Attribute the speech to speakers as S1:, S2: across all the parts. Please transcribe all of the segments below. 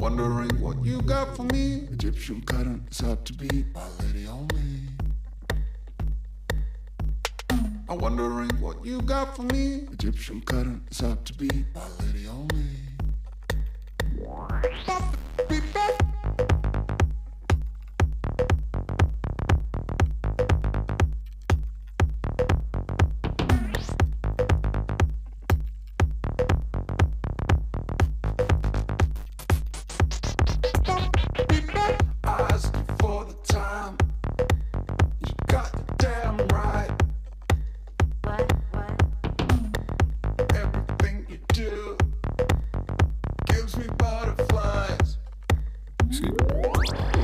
S1: wondering what you got for me.
S2: Egyptian currents have to be my lady only.
S1: I'm wondering what you got for me.
S2: Egyptian currents have to be my lady only. I asked you for the time. You got the damn right.
S3: What? What?
S2: Everything you do gives me butterflies.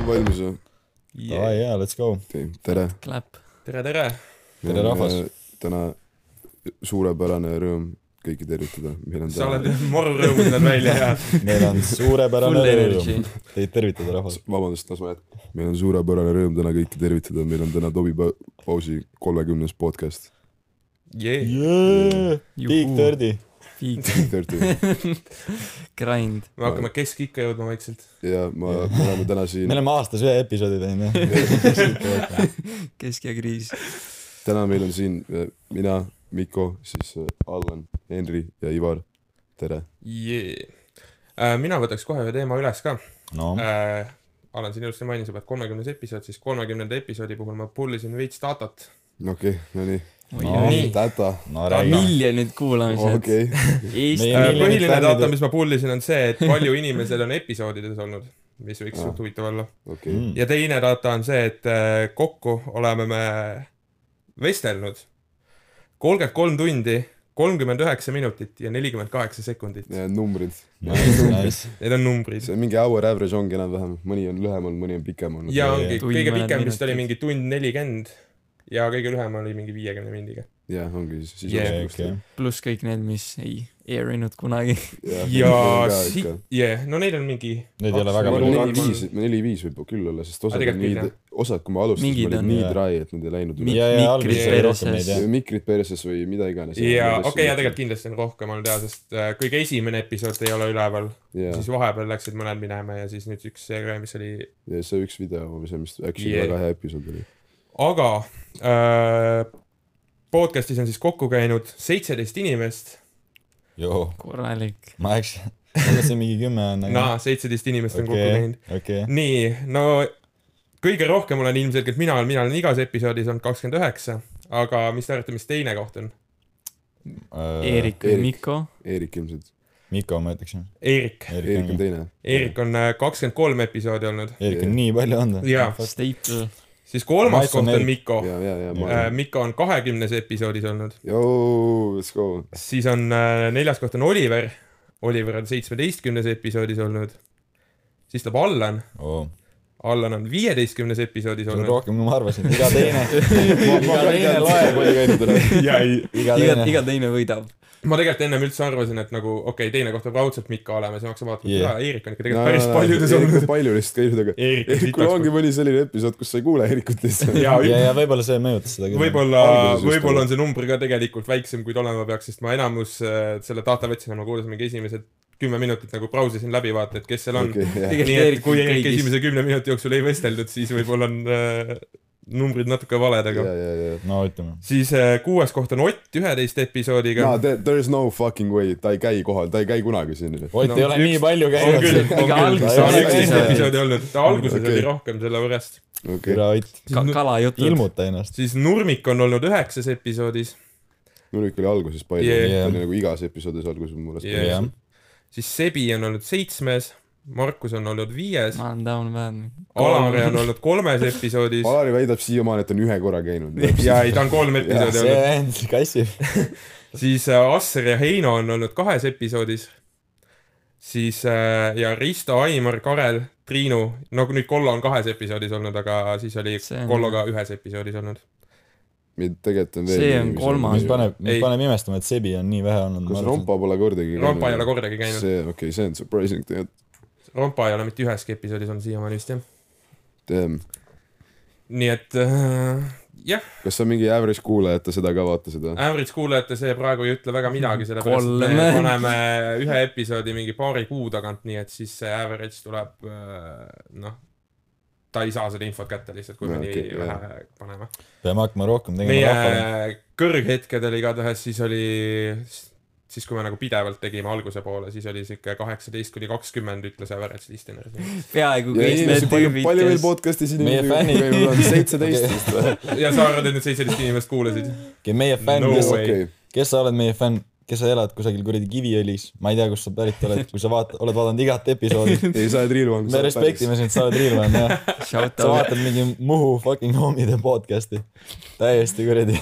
S4: valmis või ?
S5: aa
S6: yeah. .
S5: jaa , let's go .
S4: okei , tere .
S6: Clap . tere , tere .
S5: Tere, rahvas. .
S4: täna suurepärane rõõm kõiki tervitada . meil on
S6: sa oled morru rõõmutanud välja ja
S5: meil on suurepärane
S6: full energy
S5: rõõm . teid tervitada , rahvas .
S4: vabandust , las ma jätkan . meil on suurepärane rõõm täna kõiki tervitada , meil on täna Tobi Pa- Pausi kolmekümnes podcast .
S6: yeah. .
S5: Big Dirty .
S4: ja
S7: grind .
S6: me hakkame keskikka jõudma vaikselt .
S4: ma , me oleme täna siin
S5: me , oleme aastas ühe episoodi teinud , jah .
S7: keskjakriis .
S4: täna meil on siin äh, mina , Mikko , siis äh, Allan , Henri ja Ivar . tere .
S6: Yeah. Äh, mina võtaks kohe ühe teema üles ka
S5: no ,
S6: äh, . Alan siin ilusti mainis juba , et kolmekümnes episood , siis kolmekümnenda episoodi puhul ma pull isin veits datat .
S4: okei , no nii .
S5: No.
S6: nii.
S4: täta ,
S5: no
S6: Ah,
S5: räägi .
S7: miljonid kuulamised .
S4: okei .
S7: Eesti
S5: Meie
S6: Äh,
S5: miljonid
S6: põhiline
S5: fännid-
S6: data , mis ma pull isin , on see , et palju inimesel on episoodides olnud , mis võiks
S4: Aa.
S6: suht huvitav olla .
S4: okei .
S5: Mm,
S6: ja teine data on see , et äh, kokku oleme me vestelnud kolmkümmend kolm tundi , kolmkümmend üheksa minutit ja nelikümmend kaheksa sekundit .
S4: numbrid .
S5: Nice , nice .
S6: Need on numbrid .
S4: see mingi hour average ongi enam-vähem , mõni on lühem olnud , mõni on pikem olnud .
S6: ja
S5: jaa,
S6: ongi ,
S7: jaa.
S6: kõige
S7: Tuimad
S6: pikem vist oli
S7: minutid.
S6: mingi tund nelikümmend ja kõige lühem oli mingi viiekümne minutiga .
S4: jah , ongi siis , siis
S6: Yeah,
S4: oleks
S5: okei .
S7: pluss kõik need , mis ei air inud kunagi .
S4: jah,
S6: ja
S4: on ka
S6: si-
S4: ikka. ,
S6: jah , no neil on mingi ,
S5: Neid ei ole
S4: ma
S5: väga
S4: arvan ,
S5: palju .
S4: neli-viis , neli-viis võib küll olla , sest osad on
S6: tegelikult
S4: nii
S6: küll, ,
S4: osad , kui me alustasime ,
S7: Mingid
S4: olid
S7: on,
S4: nii
S5: jah.
S4: dry , et nad ei läinud üle .
S5: ja , ja Alvis oli
S7: mikrid
S5: rohkem neid , jah .
S4: mikrid perses või mida iganes .
S6: ja okei okay, , ja tegelikult kindlasti on rohkem olnud jaa , sest äh, kõige esimene episood ei ole üleval , siis
S4: tegelikult .
S6: vahepeal läksid mõned minema ja siis nüüd üks see , mis oli
S4: ja see üks video , see , mis actually
S6: Yeah.
S4: väga hea episood oli .
S6: aga äh, podcast'is on siis kokku käinud seitseteist inimest .
S5: joo ,
S7: korralik .
S5: ma eks , ma mõtlesin mingi kümme on , aga
S6: naa , seitseteist inimest on kokku
S5: okei
S6: käinud .,
S5: okei .
S6: nii , no kõige rohkem olen ilmselgelt mina , mina olen igas episoodis olnud kakskümmend üheksa , aga mis te arvate , mis teine koht on ?
S7: Eerik
S4: Eerik.
S7: või Mikko ?
S4: Eerik ilmselt ,
S5: Miko , Äh, ma ütleksin .
S6: Eerik ,
S4: Eerik on teine .
S6: Eerik on äh, kakskümmend kolm episoodi olnud ,
S5: Eerik on nii palju olnud .
S6: Jaa.
S7: Staple .
S6: siis
S5: Ma
S6: kolmas
S5: ütlen
S6: koht on
S5: Eerik.
S6: Mikko .
S4: ja , ja , ja ma
S6: Äh, . Mikko on kahekümnes episoodis olnud ,
S4: Joo , let's go .
S6: siis on äh, neljas koht on Oliver , Oliver on seitsmeteistkümnes episoodis olnud , siis tuleb Allan ,
S5: oo ,
S6: Allan on viieteistkümnes episoodis
S5: see on
S6: olnud .
S5: rohkem , kui ma arvasin , iga teine , iga teine loeb ,
S4: palju käinud üle .
S5: iga
S7: iga ,
S5: teine .
S7: iga teine võidab .
S6: ma tegelikult ennem üldse arvasin , et nagu okei okay, , teine koht peab raudselt Mikko olema , siis ma hakkasin vaatama
S5: Yeah.
S6: yeah. , et Eerik on ikka tegelikult päris paljudes olnud .
S4: palju lihtsalt käinud , aga
S6: Eerik on
S4: Eerikul
S6: sitaks
S4: ongi mõni selline episood , kus sa ei kuule Eerikut lihtsalt .
S6: ja
S5: ja , ja võib-olla see mõjutas seda küll .
S6: võib-olla
S4: Alguses , just
S6: võib-olla
S4: oli.
S6: on see number ka tegelikult väiksem , kui ta olema peaks , sest ma enamus äh, selle data võtsin , ma kuulasin mingi esimesed kümme minutit nagu brausisin läbi , vaata , et kes seal on okay. .
S4: jah .
S6: nii et kui Eerik
S7: kõigis.
S6: esimese kümne minuti jooksul ei vesteldud , siis võib-olla on äh, numbrid natuke valed , aga
S4: ja , ja , ja .
S5: no ütleme ,
S6: siis äh, kuues koht on Ott üheteist episoodiga
S4: no . there, there is no fucking way , ta ei käi kohal , ta ei käi kunagi siin .
S5: Ott
S6: No,
S5: ei ole
S6: üks-
S5: nii palju
S6: on küll ,
S5: käinud .
S6: on
S7: Aga
S6: küll ,
S7: alguses
S6: ta on
S5: oli
S6: üksteist
S5: see-
S6: episoodi olnud , ta alguses
S4: Okei.
S6: oli rohkem sellepärast .
S4: okei ,
S5: türa Ott ,
S7: ka . kalajutud .
S5: ilmuta ennast .
S6: siis Nurmik on olnud üheksas episoodis ,
S4: Nurmik oli alguses palju
S6: Yeah.
S4: yeah. , ta oli nagu igas episoodis alguses mu meelest
S6: Yeah.
S5: jah
S4: yeah. .,
S6: siis Sebi on olnud seitsmes , Markus on olnud viies ,
S7: ma olen down man .
S6: Alari on olnud kolmes episoodis
S4: Alari väidab siiamaani , et ta on ühe korra käinud .
S6: ja ei , ta on kolm episoodi
S5: see
S6: olnud .
S5: vend kassib .
S6: siis äh, Asser ja Heino on olnud kahes episoodis . siis äh, ja Risto , Aimar , Karel , Triinu , no nüüd Kollo on kahes episoodis olnud , aga siis oli
S7: See on-
S6: Kolloga ühes episoodis olnud .
S4: meil tegelikult on veel .
S7: See on kolmas.
S5: mis paneb ,
S6: Ei.
S5: mis paneb imestama , et sebi on nii vähe olnud .
S4: kas Rompa pole kordagi
S6: Rompa ei ole kordagi käinud ,
S4: see , okei okay, , see on surprising tegelikult .
S6: Rompa ei ole mitte üheski episoodis olnud siiamaani vist jah .
S4: Damn ,
S6: nii et äh, jah ,
S4: kas sa mingi average kuulaja , et ta seda ka vaatas , et jah ?
S6: average kuulajate see praegu ei ütle väga midagi , sellepärast et me
S7: Kolm.
S6: paneme ühe episoodi mingi paari kuu tagant , nii et siis see average tuleb äh, noh , ta ei saa seda infot kätte lihtsalt , kui me
S4: No
S6: nii
S4: okei, jah.
S6: vähe paneme .
S5: peame hakkama rohkem tegema rahvale .
S6: meie kõrghetkedel igatahes siis oli , siis kui me nagu pidevalt tegime alguse poole , siis oli sihuke kaheksateist kuni kakskümmend ütles average listener .
S4: ja
S7: peaaegu kõik need
S4: inimesi palju , palju meil
S7: tüübid , kes
S4: podcast'is
S5: Meie fännid.
S4: inimesi , seitseteist vist või ?
S6: ja sa arvad , et need seitseteist inimest kuulasid ?
S5: meie fänn
S6: No
S5: no , kes
S6: way.
S4: okei ,
S5: kes sa oled meie fänn , kes sa elad kusagil kuradi Kiviõlis , ma ei tea , kust sa pärit oled , kui sa vaata- , oled vaadanud igat episoodi .
S4: ei sa oled Real One .
S5: me respektime . sind , sa oled Riivan , jah .
S7: shout
S5: sa
S7: out ,
S5: vaatad mingi Muhu fucking homide podcast'i . täiesti kuradi .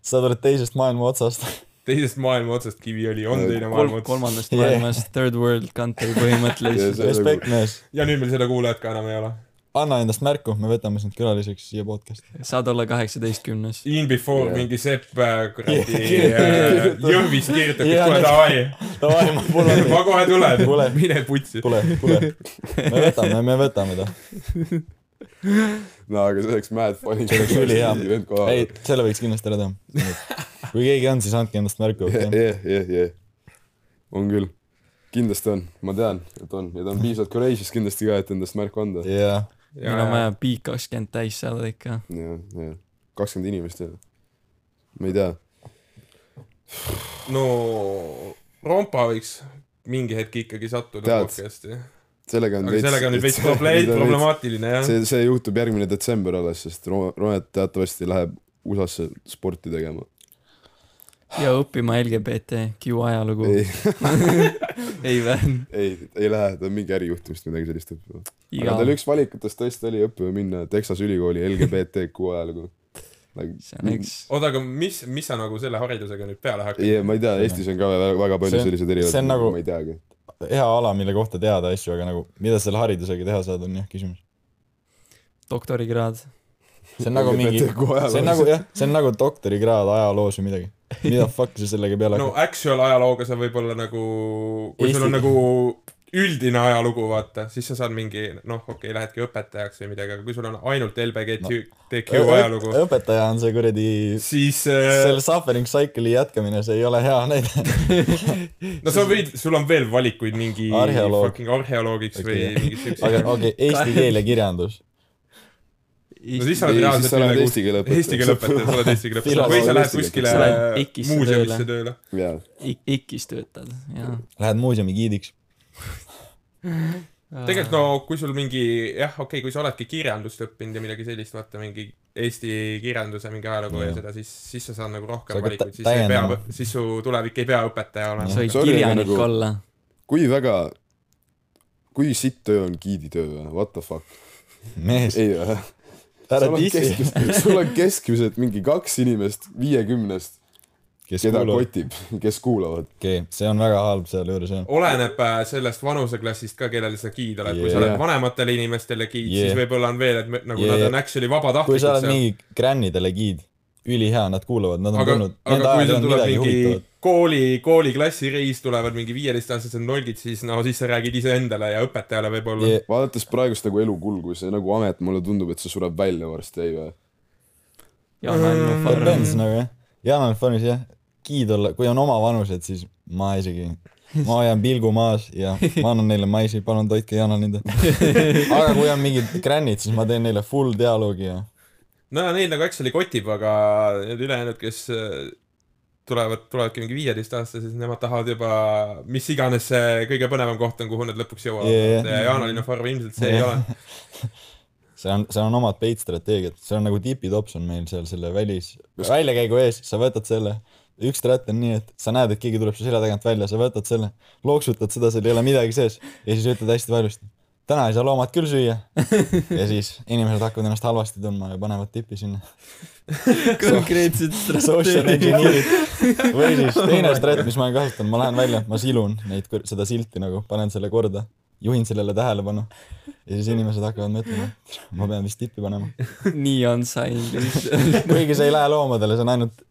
S5: sa tuled teisest maailma otsast .
S6: teisest maailma otsast Kiviõli on teine
S7: kolm ,
S6: maailma ots
S7: kolmandast
S5: Yeah.
S7: maailmast , third world country põhimõtteliselt .
S4: nagu-
S5: respekt , mees .
S6: ja nüüd meil seda kuulajat ka enam ei ole .
S5: anna endast märku , me võtame sind külaliseks siia podcast'i .
S7: saad olla kaheksateistkümnes .
S6: In before
S4: Jah.
S6: yeah. mingi Sepp äh, kuradi
S5: Jah.
S6: yeah. Jõhvis kirjutab , et
S5: Jah,
S6: tule
S5: näed.
S6: davai ,
S5: davai , ma tulen .
S6: ma kohe tulen
S5: Tule. ,
S6: mine putsi .
S5: tule , tule . me võtame , me võtame ta .
S4: no aga see oleks mad funny .
S5: See oleks ülihea. ei
S4: ei ,,
S5: selle võiks kindlasti ära teha . kui keegi on , siis andke endast märku .
S4: jah , jah , jah . on küll . kindlasti on , ma tean , et on ja ta on piisavalt courageous kindlasti ka , et endast märku anda .
S5: jaa .
S7: meil on vaja piik kakskümmend täis saada ikka .
S4: ja , ja kakskümmend inimest ja . ma ei tea .
S6: no Rompa võiks mingi hetk ikkagi sattuda
S4: Tead,
S6: podcast'i .
S4: sellega on
S6: aga sellega on nüüd veits probleem , problemaatiline jah .
S4: see , see juhtub järgmine detsember alles , sest Ro- Ronet teatavasti läheb USA-sse sporti tegema .
S7: ja õppima LGBTQ ajalugu .
S4: ei ,
S7: ei vä ?
S4: ei , ei lähe , ta on mingi ärijuhtimist või midagi sellist õppima . aga
S7: iga ,
S4: tal üks valikutest tõesti oli õppima minna Texase ülikooli LGBTQ ajalugu .
S7: see on üks .
S6: oota , aga mis , mis sa nagu selle haridusega nüüd peale hakkad ?
S4: ei , ma ei tea , Eestis on ka väga, väga palju
S5: See on-
S4: selliseid erinevaid
S5: see on , nagu-
S4: ma ei teagi .
S5: hea ala , mille kohta teada asju , aga nagu , mida selle haridusega teha saad , on jah küsimus .
S7: doktorikraad .
S5: see on nagu mingi , see on nagu jah , see on nagu doktorikraad ajaloos või midagi . mida fuck sa sellega peale
S6: no
S5: hakkad ?
S6: actual ajalooga sa võib-olla nagu , kui sul on
S5: Eesti-
S6: nagu üldine ajalugu , vaata , siis sa saad mingi noh , okei okay, , lähedki õpetajaks või midagi , aga kui sul on ainult LBGTQ no. ajalugu ,
S5: õpetaja on see kuradi ,
S6: siis äh,
S5: selle suffering cycle'i jätkamine , see ei ole hea näide .
S6: no sa võid , sul on veel valikuid mingi
S5: Arheoloog.
S6: fucking arheoloogiks või
S5: Okei.
S6: mingi siukse
S5: aga okei okay, , eesti keel ja kirjandus .
S6: no siis
S7: sa
S6: sa oled
S4: Ei, siis
S6: reaalselt
S4: sa oled
S6: millegi-
S4: eesti keele õpetaja.
S6: eesti keele õpetaja , sa oled eesti keele õpetaja või sa
S4: Filoloog-
S6: lähed
S4: eesti
S6: kuskile
S7: keele- Sa lähed EKIS-e
S6: muuseumisse
S7: tööle.
S6: tööle .
S4: jaa ,
S7: Ik- , IK-is töötad , jaa .
S5: Lähed muuseumi giidiks .
S6: tegelikult no kui sul mingi jah , okei okay, , kui sa oledki kirjandust õppinud ja midagi sellist , vaata mingi Eesti kirjanduse mingi ajalugu ja
S5: Jah.
S6: seda , siis , siis sa saad nagu
S5: Sa
S6: rohkem
S5: hakkad
S6: valikuid , siis
S5: tä-
S6: ei pea
S5: täiendama. ,
S6: siis su tulevik ei pea õpetaja
S7: sa
S6: olema .
S7: võid
S4: Sorry,
S7: kirjanik
S4: aga nagu-
S7: olla .
S4: kui väga , kui sitt töö on giidi töö või , what the fuck ,
S5: mees ,
S4: ei äh, või ?
S5: ära dissi .
S4: sul on keskmiselt mingi kaks inimest viiekümnest ,
S5: kes
S4: keda
S5: kuulab ,
S4: kotib , kes kuulavad .
S5: okei , see on väga halb sealjuures jah .
S6: oleneb äh, sellest vanuseklassist ka , kellele sa giid oled , kui sa
S4: Yeah.
S6: oled vanematele inimestele giid yeah. , siis
S5: Yeah.
S6: võib-olla on veel , et me- nagu yeah.
S5: Yeah.
S6: nad on actually
S5: kui sa
S6: vabatahtlikud
S5: oled mingi grännidele giid , ülihea , nad kuulavad , nad on
S6: aga ,
S5: tulnud ,
S6: aga
S5: nende
S6: kui
S5: ajal
S6: sul
S5: on
S6: tuleb
S5: midagi
S6: mingi
S5: huvitavat .
S6: kooli , kooli klassireis tulevad mingi viieteistaastased nolgid , siis no siis sa räägid iseendale ja õpetajale võib-olla yeah. .
S5: Yeah.
S4: vaadates praegust nagu elukulgu , see nagu amet , mulle tundub , et see sureb välja varsti , ei või ?
S7: Jaan Annu Farm .
S5: Benz nagu jah , Jaan on foonis jah , giid olla , kui on oma vanused , siis ma isegi , ma hoian pilgu maas ja ma annan neile maisi , palun toitke Jaanal nende . aga kui on mingid grännid , siis ma teen neile full dialoogi ja
S6: no ja neil nagu actually kotib , aga need ülejäänud , kes äh, tulevad , tulevadki mingi viieteistaastased , nemad tahavad juba , mis iganes see kõige põnevam koht on , kuhu nad lõpuks jõuavad
S5: Yeah.
S6: yeah. . ja Jaanalinna farm ilmselt see yeah. ei ole .
S5: see on , seal on omad peitstrateegiad , see on nagu tipitops on meil seal selle välis , väljakäigu ees , sa võtad selle , üks tratt on nii , et sa näed , et keegi tuleb su selja tagant välja , sa võtad selle , loksutad seda , seal ei ole midagi sees ja siis ütled hästi valjusti . täna ei saa loomad küll süüa . ja siis inimesed hakkavad ennast halvasti tundma ja panevad tipi sinna .
S7: konkreetselt
S5: Social
S7: strateegia .
S5: engineering või siis teine strat , mis ma olen kasutanud , ma lähen välja , ma silun neid , seda silti nagu , panen selle korda , juhin sellele tähelepanu ja siis inimesed hakkavad mõtlema , et ma pean vist tippi panema .
S7: nii on signed lihtsalt .
S5: kuigi see ei lähe loomadele , see on ainult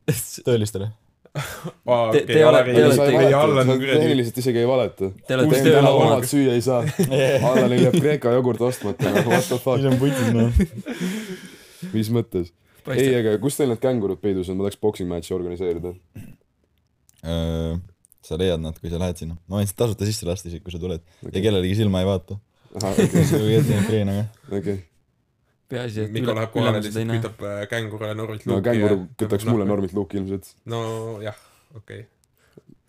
S5: töölistele .
S7: Te- te olete- te olete-
S6: tehniliselt .
S4: tehniliselt isegi ei valeta .
S7: Te olete
S4: kuus
S7: töö
S4: täna
S7: laual.
S4: omad süüa ei saa . Allanil jääb Kreeka jogurt ostmata , what the fuck ,
S5: on putid noh .
S4: mis mõttes ? ei ,
S7: paistab .
S4: aga kus teil need kängurud peidus on , ma tahaks boxing match'i organiseerida .
S5: sa leiad nad , kui sa lähed sinna . ma võin sind tasuta sisse lasta isegi , kui sa tuled okay. ja kellelegi silma ei vaata .
S4: okei okay. ,
S7: peaasi , et
S6: Mikko
S7: üle-
S6: läheb kohale ,
S7: ülemused ei
S6: lihtsalt
S7: näe .
S6: kütab äh, kängurule Normilt
S4: no
S6: luuki
S4: känguru
S6: ja-
S4: kütaks mulle normilt luuki ilmselt .
S6: nojah , okei okay. .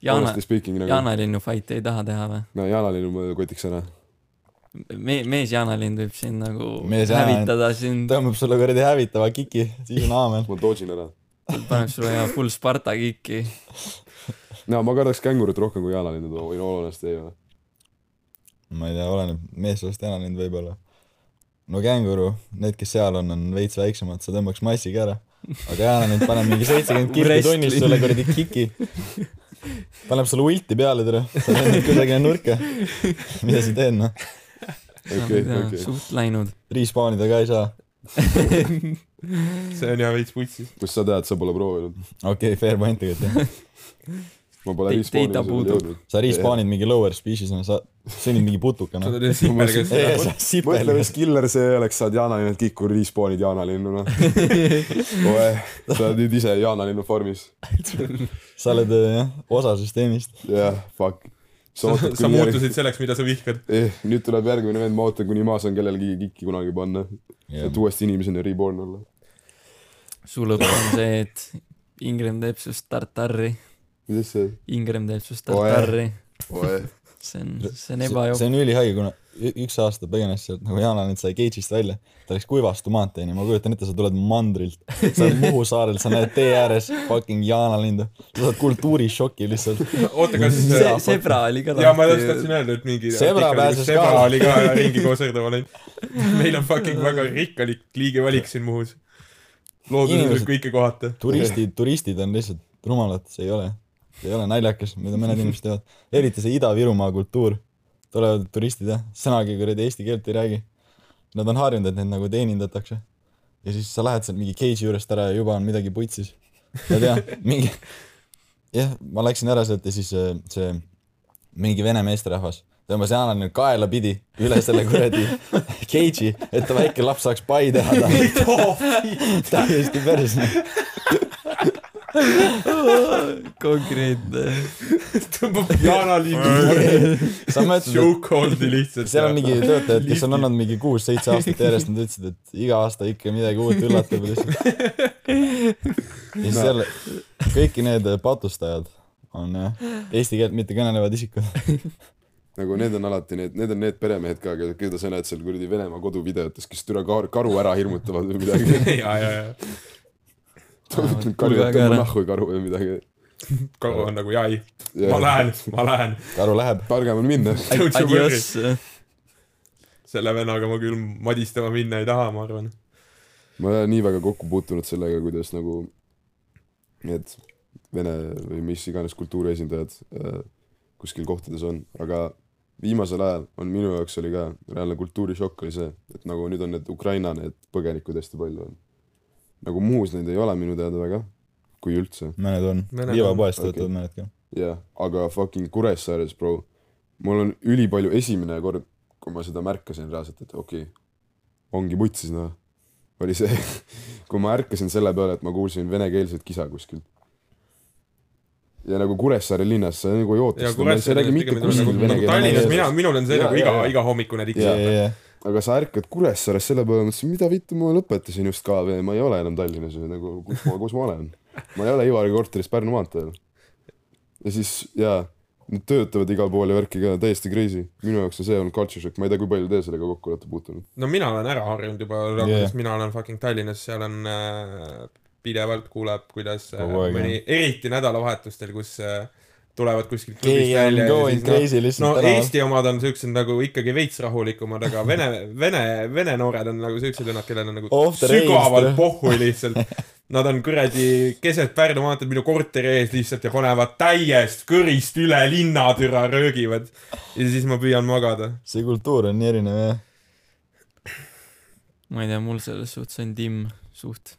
S7: Jaana ,
S4: honestly speaking nagu .
S7: jaanalinnu fight'e ei taha teha või ?
S4: no jaanalinnu ma kotiks ära .
S7: me- , mees jaanalind võib sind nagu
S5: Mees jaanalind-
S7: hävitada sind ,
S5: tõmbab sulle kuradi hävitava kiki , siis on aamen .
S4: ma dodžin ära .
S7: paneb sulle hea full Sparta kiki .
S4: no ma kardaks kängurut rohkem kui jaanalindu , in all honesty , ei ole .
S5: ma ei tea , oleneb , mees oleks täna läinud võib-olla . no känguru , need , kes seal on , on veits väiksemad , sa tõmbaks massiga ära . aga Jaan nüüd paneb mingi seitsekümmend kirpi
S7: Wrestling.
S5: tunnis sulle kuradi kiki . paneb sulle ulti peale , tere . sa lendad kuidagi nurka . mida sa teed , noh ?
S4: okei , okei .
S7: suht läinud .
S5: Respawnida ka ei saa .
S6: see on ja veits putsis .
S4: kust sa tead , sa pole proovinud ?
S5: okei okay, , fair point tegelikult jah .
S4: ma pole
S7: Data
S4: respawn'i
S7: puudub.
S4: jõudnud .
S5: sa respawn'id mingi lower species'ina , sa sõnnid mingi
S6: sa
S5: putukana .
S6: oled siiper , kes
S5: ei , sa
S4: mõtle ,
S5: sipelgas
S4: mis . killer see oleks , saad jaanalinnalt kikku , respawn'id jaanalinnu , noh . oeh , sa oled nüüd ise jaanalinnu farmis .
S5: sa oled äh, jah , osa süsteemist .
S4: jah yeah, , fuck . sa ootad ,
S6: sa
S4: kuni järg... ,
S6: muutusid selleks , mida sa vihkad .
S4: eh, nüüd tuleb järgmine vend , ma ootan , kuni ma saan kellelegi kikki kunagi panna . et uuesti inimesena reborn olla .
S7: su lõpp on see , et Ingram teeb sinust tartarri ,
S4: mis asja ?
S7: Ingram teeb sinust tartarri .
S4: oeh .
S7: see on , see on
S5: see
S7: ebajook-
S5: see . on ülihaige , kuna ü- üks aasta põgenes sealt nagu Jaan Anett sai cage'ist välja , ta läks kuivastu maanteeni , ma kujutan ette , sa tuled mandrilt , sa oled Muhu saarel , sa näed tee ääres fucking jaanalindu , sa saad kultuurishoki lihtsalt .
S6: oota , kas
S7: see , Zebra oli ka
S6: ja ma just tahtsin . öelda , et mingi
S5: Zebra
S6: artikkel oli, kus
S5: pääses
S6: Zebra
S5: ka.
S6: oli ka ringi koos Erdoga läinud . meil on fucking väga rikkalik liigivalik siin Muhus . looduses võib
S5: Inimesed-
S6: kõike kohata .
S5: turistid , turistid on lihtsalt rumalad , see ei ole , ei ole naljakas , mida mõned inimesed teevad , eriti see Ida-Virumaa kultuur , tulevad turistid jah , sõnagi kuradi eesti keelt ei räägi . Nad on harjunud , et neid nagu teenindatakse ja siis sa lähed sealt mingi cage'i juurest ära ja juba on midagi putsis . ma ei tea , mingi , jah , ma läksin ära sealt ja siis äh, see mingi vene meesterahvas tõmbas Jaanale kaelapidi üle selle kuradi cage'i , et ta väike laps saaks pai teha ta . täiesti päris .
S7: konkreetne .
S6: tõmbab jaanalindu
S5: sa mõtled ,
S6: chokehold'i lihtsalt .
S5: et seal on mingi töötajad , kes on olnud mingi kuus-seitse aastat järjest , nad ütlesid , et iga aasta ikka midagi uut üllatab ja lihtsalt . ja siis seal kõiki need patustajad on jah , eesti keelt mitte kõnelevad isikud .
S4: nagu need on alati need , need on need peremehed ka , keda sa näed seal kuradi Venemaa koduvideotes , kes türa kar- , karu ära hirmutavad või midagi .
S6: ja , ja , ja
S4: karu ,
S7: väga
S4: tõmba
S7: ära.
S4: nahku karu või midagi .
S6: karu on nagu jai , ma . lähen , ma lähen .
S5: karu läheb ,
S4: targem on minna .
S6: Tõutsu
S7: Adios .
S6: selle vennaga ma küll madistama minna ei taha , ma arvan .
S4: ma ei ole nii väga kokku puutunud sellega , kuidas nagu need vene või mis iganes kultuuri esindajad äh, kuskil kohtades on , aga viimasel ajal on minu jaoks oli ka reaalne kultuurishokk oli see , et nagu nüüd on need Ukraina need põgenikud hästi palju on . nagu Muhus neid ei ole minu teada väga , kui üldse ,
S5: mõned on ,
S6: Mõned
S5: liivapoest
S4: on, okei.
S5: töötavad mõned ka .
S4: jah , aga fucking Kuressaares , bro , mul on ülipalju , esimene kord , kui ma seda märkasin reaalselt , et okei okay, , ongi putsis noh , oli see , kui ma ärkasin selle peale , et ma kuulsin venekeelset kisa kuskil . ja nagu Kuressaare linnas sa nagu ei oota
S6: ja
S4: seda , sa ei räägi mitte kuskil vene
S6: nagu Tallinnas ,
S4: keeles ,
S6: mina , minul on see
S4: Jaa,
S6: nagu
S4: jaa,
S6: iga
S4: jaa. ,
S6: igahommikune
S5: ja ,
S6: diktsioon .
S5: ja , ja
S4: aga sa ärkad Kuressaares selle peale , mõtlesin , mida vittu ma lõpetasin just ka või ma ei ole enam Tallinnas või nagu kus ma , kus ma olen . ma ei ole Ivari korteris Pärnu maanteel . ja siis jaa , nad töötavad igal pool ja värki ka , täiesti crazy . minu jaoks on see olnud culture shock , ma ei tea , kui palju te sellega kokku olete puutunud .
S6: no mina olen ära harjunud juba yeah. ,
S5: Jajah.
S6: kuidas mina olen fucking Tallinnas , seal on äh, pidevalt kuuleb , kuidas äh,
S5: Kogu aeg,
S6: mõni , eriti nädalavahetustel , kus äh, tulevad kuskilt klubist
S5: keegi on
S6: välja ja
S5: going
S6: siis
S5: crazy
S6: noh ,
S5: lihtsalt
S6: no
S5: tänaval .
S6: Eesti omad on siuksed nagu ikkagi veits rahulikumad , aga vene , vene , vene noored on nagu siuksed vennad , kellel on nagu
S5: Off the
S6: sügavalt
S5: rails,
S6: pohhu lihtsalt . Nad on kuradi keset Pärnu maanteed minu korteri ees lihtsalt ja panevad täiest kõrist üle linna türa röögivad . ja siis ma püüan magada .
S5: see kultuur on nii erinev jah .
S7: ma ei tea , mul selles suhtes on timm suht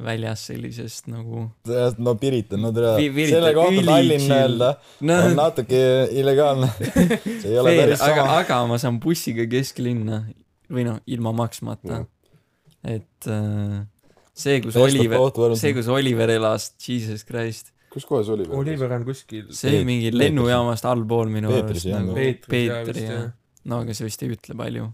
S7: väljas sellisest nagu
S5: no Pirita , no tere
S7: Vi- , Pirita-
S5: selle kohta
S7: üli
S5: Tallinn
S7: chill.
S5: öelda on
S7: no
S5: natuke illegaalne . see ei ole
S7: veel ,
S5: päris
S7: aga
S5: sama ,.
S7: aga ma saan bussiga kesklinna või noh , ilma maksmata
S4: Jah. .
S7: et äh, see , kus
S5: Best of
S7: Oliver
S5: both , worlds.
S7: see , kus Oliver elas , Jesus Christ .
S4: kus kohas oli ?
S6: Oliver on kuskil
S7: see
S5: Peet-
S7: mingi
S5: Peetris.
S7: lennujaamast allpool minu
S5: Peetris
S7: arust
S5: ei olnud.
S7: nagu .
S6: Peetris jah, vist,
S7: Peetri jah
S6: jah. .
S7: no aga see vist ei ütle palju .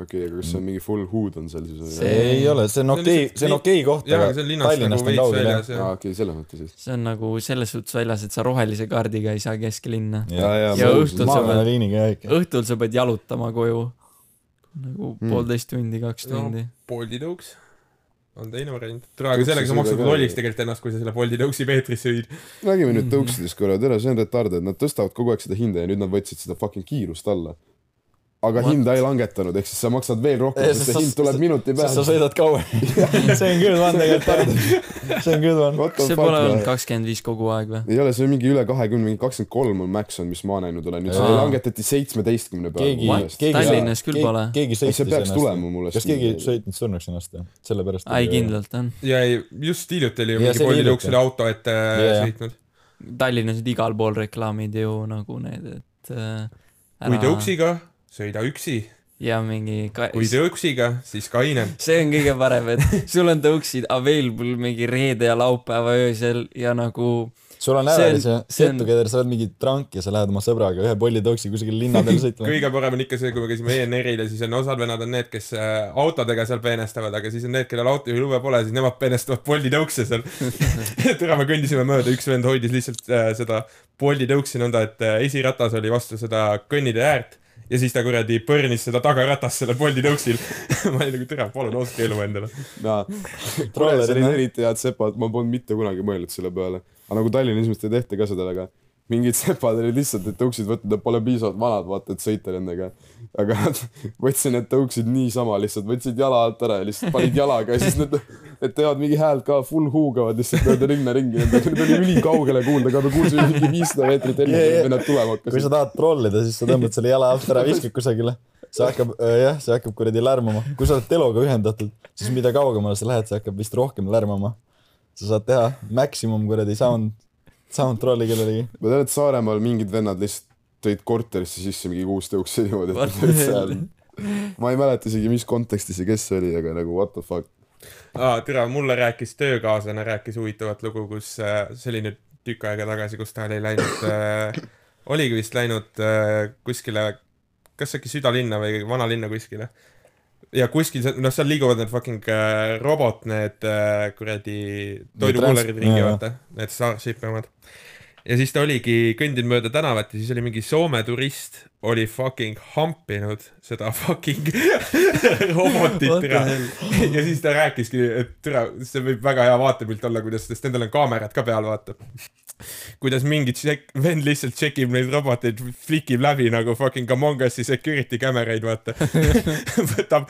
S4: okei , aga kas see on mingi full hood on seal siis ?
S7: See-
S5: ei ole , see on
S6: See on
S5: okei
S6: lihtsalt ,
S5: see on
S6: nii-
S5: okei koht ,
S6: jaa ,
S5: aga
S6: aga see on linnast nagu
S5: Tallinnast on
S6: veits
S5: kaugel jah .
S6: väljas
S4: aa ,
S6: jah .
S4: okei , selles mõttes siis .
S7: see on nagu selles suhtes väljas , et sa rohelise kaardiga ei saa keskelinna .
S4: Jaa, jaa,
S7: Ja õhtul sa
S5: maakonna
S7: pead-
S5: liiniga jah ikka .
S7: õhtul sa pead jalutama koju . nagu
S4: Mm.
S5: Hmm.
S7: mm. poolteist tundi , kaks
S6: No.
S7: tundi no. .
S6: Bolti tõuks on teine variant . tule , aga sellega
S4: Tõuksis
S6: sa maksad
S4: seda ka.
S6: nolliks tegelikult ennast , kui sa selle Bolti tõuksi Peetrisse viid .
S4: räägime
S5: Mhm.
S4: nüüd tõuksidest korra , tere , see on retarded , nad tõstavad kogu aeg seda hinda ja nüüd nad võtsid seda fucking kiirust alla . aga
S7: What?
S4: What? hinda ei langetanud , ehk siis sa maksad veel rohkem ,
S5: Ei,
S4: sest
S5: sest
S4: see
S5: sa-
S4: hind tuleb minuti
S5: sest sa
S4: peale .
S5: sõidad kaua . see on good one tegelikult , see on good one .
S4: What the
S7: kas see
S4: fuck
S7: pole olnud
S4: man?
S7: kakskümmend viis kogu aeg või ?
S4: ei ole , see on mingi üle kahekümne , mingi kakskümmend kolm on max on , mis ma näinud olen , nüüd see
S7: Aa.
S4: langetati seitsmeteistkümne peale .
S5: keegi
S7: What? ,
S5: keegi .
S7: Tallinnas küll pole.
S5: keegi
S4: see
S5: sõitis
S4: peaks tulema mulle
S5: kas
S4: siin-
S5: keegi sõitnud surnuks ennast või ? sellepärast .
S7: ai ,. kindlalt on .
S6: ja ei , just hiljuti oli ju
S5: Jaa, see oli
S6: mingi Bolti
S5: hiljuti.
S6: tõuks selle auto ette
S5: Jaa, jaa.
S6: sõitnud .
S7: Tallinnas nüüd igal pool reklaamid ju nagu need , et äh,
S6: kui tõuksiga , sõida üksi .
S7: ja mingi ka...
S6: kui tõuksiga , siis kaine .
S7: see on kõige parem , et sul on tõuksid available mingi reede ja laupäeva öösel ja nagu
S5: sul on
S7: See on-
S5: ärelis ja
S7: see on-
S5: settukeder , sa oled mingi trank ja sa lähed oma sõbraga ühe pollitooksi kusagil linna peal sõitma .
S6: kõige parem on ikka see , kui me käisime ENR-il ja siis on osad vennad on need , kes äh, autodega seal peenestavad , aga siis on need , kellel autojuhilume pole , siis nemad peenestavad Bolti tõukse seal . täna me kõndisime mööda , üks vend hoidis lihtsalt äh, seda Bolti tõuksi nõnda , et äh, esiratas oli vastu seda kõnnitee äärt ja siis ta kuradi põrnis seda tagaratast selle Bolti tõuksil . ma olin nagu tere , palun osta elu endale .
S4: kuule , see
S5: Trollerid,
S4: oli
S5: noh.
S4: eriti head sepad , ma polnud mitte kunagi mõelnud selle peale . aga nagu Tallinna inimesed ei tehta ka seda väga . mingid sepad olid lihtsalt , et tõuksid võtta , nad pole piisavalt vanad , vaata , et sõita nendega . aga nad võtsid need tõuksid niisama lihtsalt , võtsid jala alt ära ja lihtsalt panid jalaga ja siis need , need teevad mingi häält ka , full huugavad lihtsalt mööda linna ringi , need oli ülikaugele kuulda ka , me kuulsime mingi viissada meetrit enne , kui nad tulema
S5: kui sa
S4: hakkasid .
S5: tahad trollida , siis sa tõmbad selle jala alt ära , viskad kusagile . see hakkab , jah , see hakkab kuradi lärmama . kui sa oled teloga ühendatud , siis mida kaugemale sa lähed , see hakkab vist rohkem lärmama . sa saad teha maximum kuradi sound , sound trolli kellelegi .
S4: ma tean , et Saaremaal mingid vennad lihtsalt tõid korterisse sisse mingi kuus tõuksi niimoodi ,
S7: What
S4: et
S7: the
S4: nad olid
S7: hell?
S4: seal . ma ei mäleta isegi , mis kontekstis ja kes see oli , aga nagu what the fuck .
S6: aa , tere , mulle rääkis töökaaslane , rääkis huvitavat lugu , kus äh, see oli nüüd tükk aega tagasi , kus ta oli läinud äh, , oligi vist läinud äh, kuskile , kas äkki südalinna või vanalinna kuskile . ja kuskil seal , noh , seal liiguvad need fucking äh, robot , need äh, kuradi toidukullerid
S5: trans-
S6: ringi ,
S5: jaa.
S6: vaata , need Starshipi omad . ja siis ta oligi kõndinud mööda tänavat ja siis oli mingi Soome turist oli fucking hampinud seda fucking robotit ,
S7: What the
S6: tere
S7: hell?
S6: ja siis ta rääkiski , et türa , see võib väga hea vaatepilt olla , kuidas , sest nendel on kaamerad ka peal , vaata . kuidas mingi tšekk , vend lihtsalt tšekib neid roboteid , flikib läbi nagu fucking Among Us'i security cameraid , vaata . võtab ,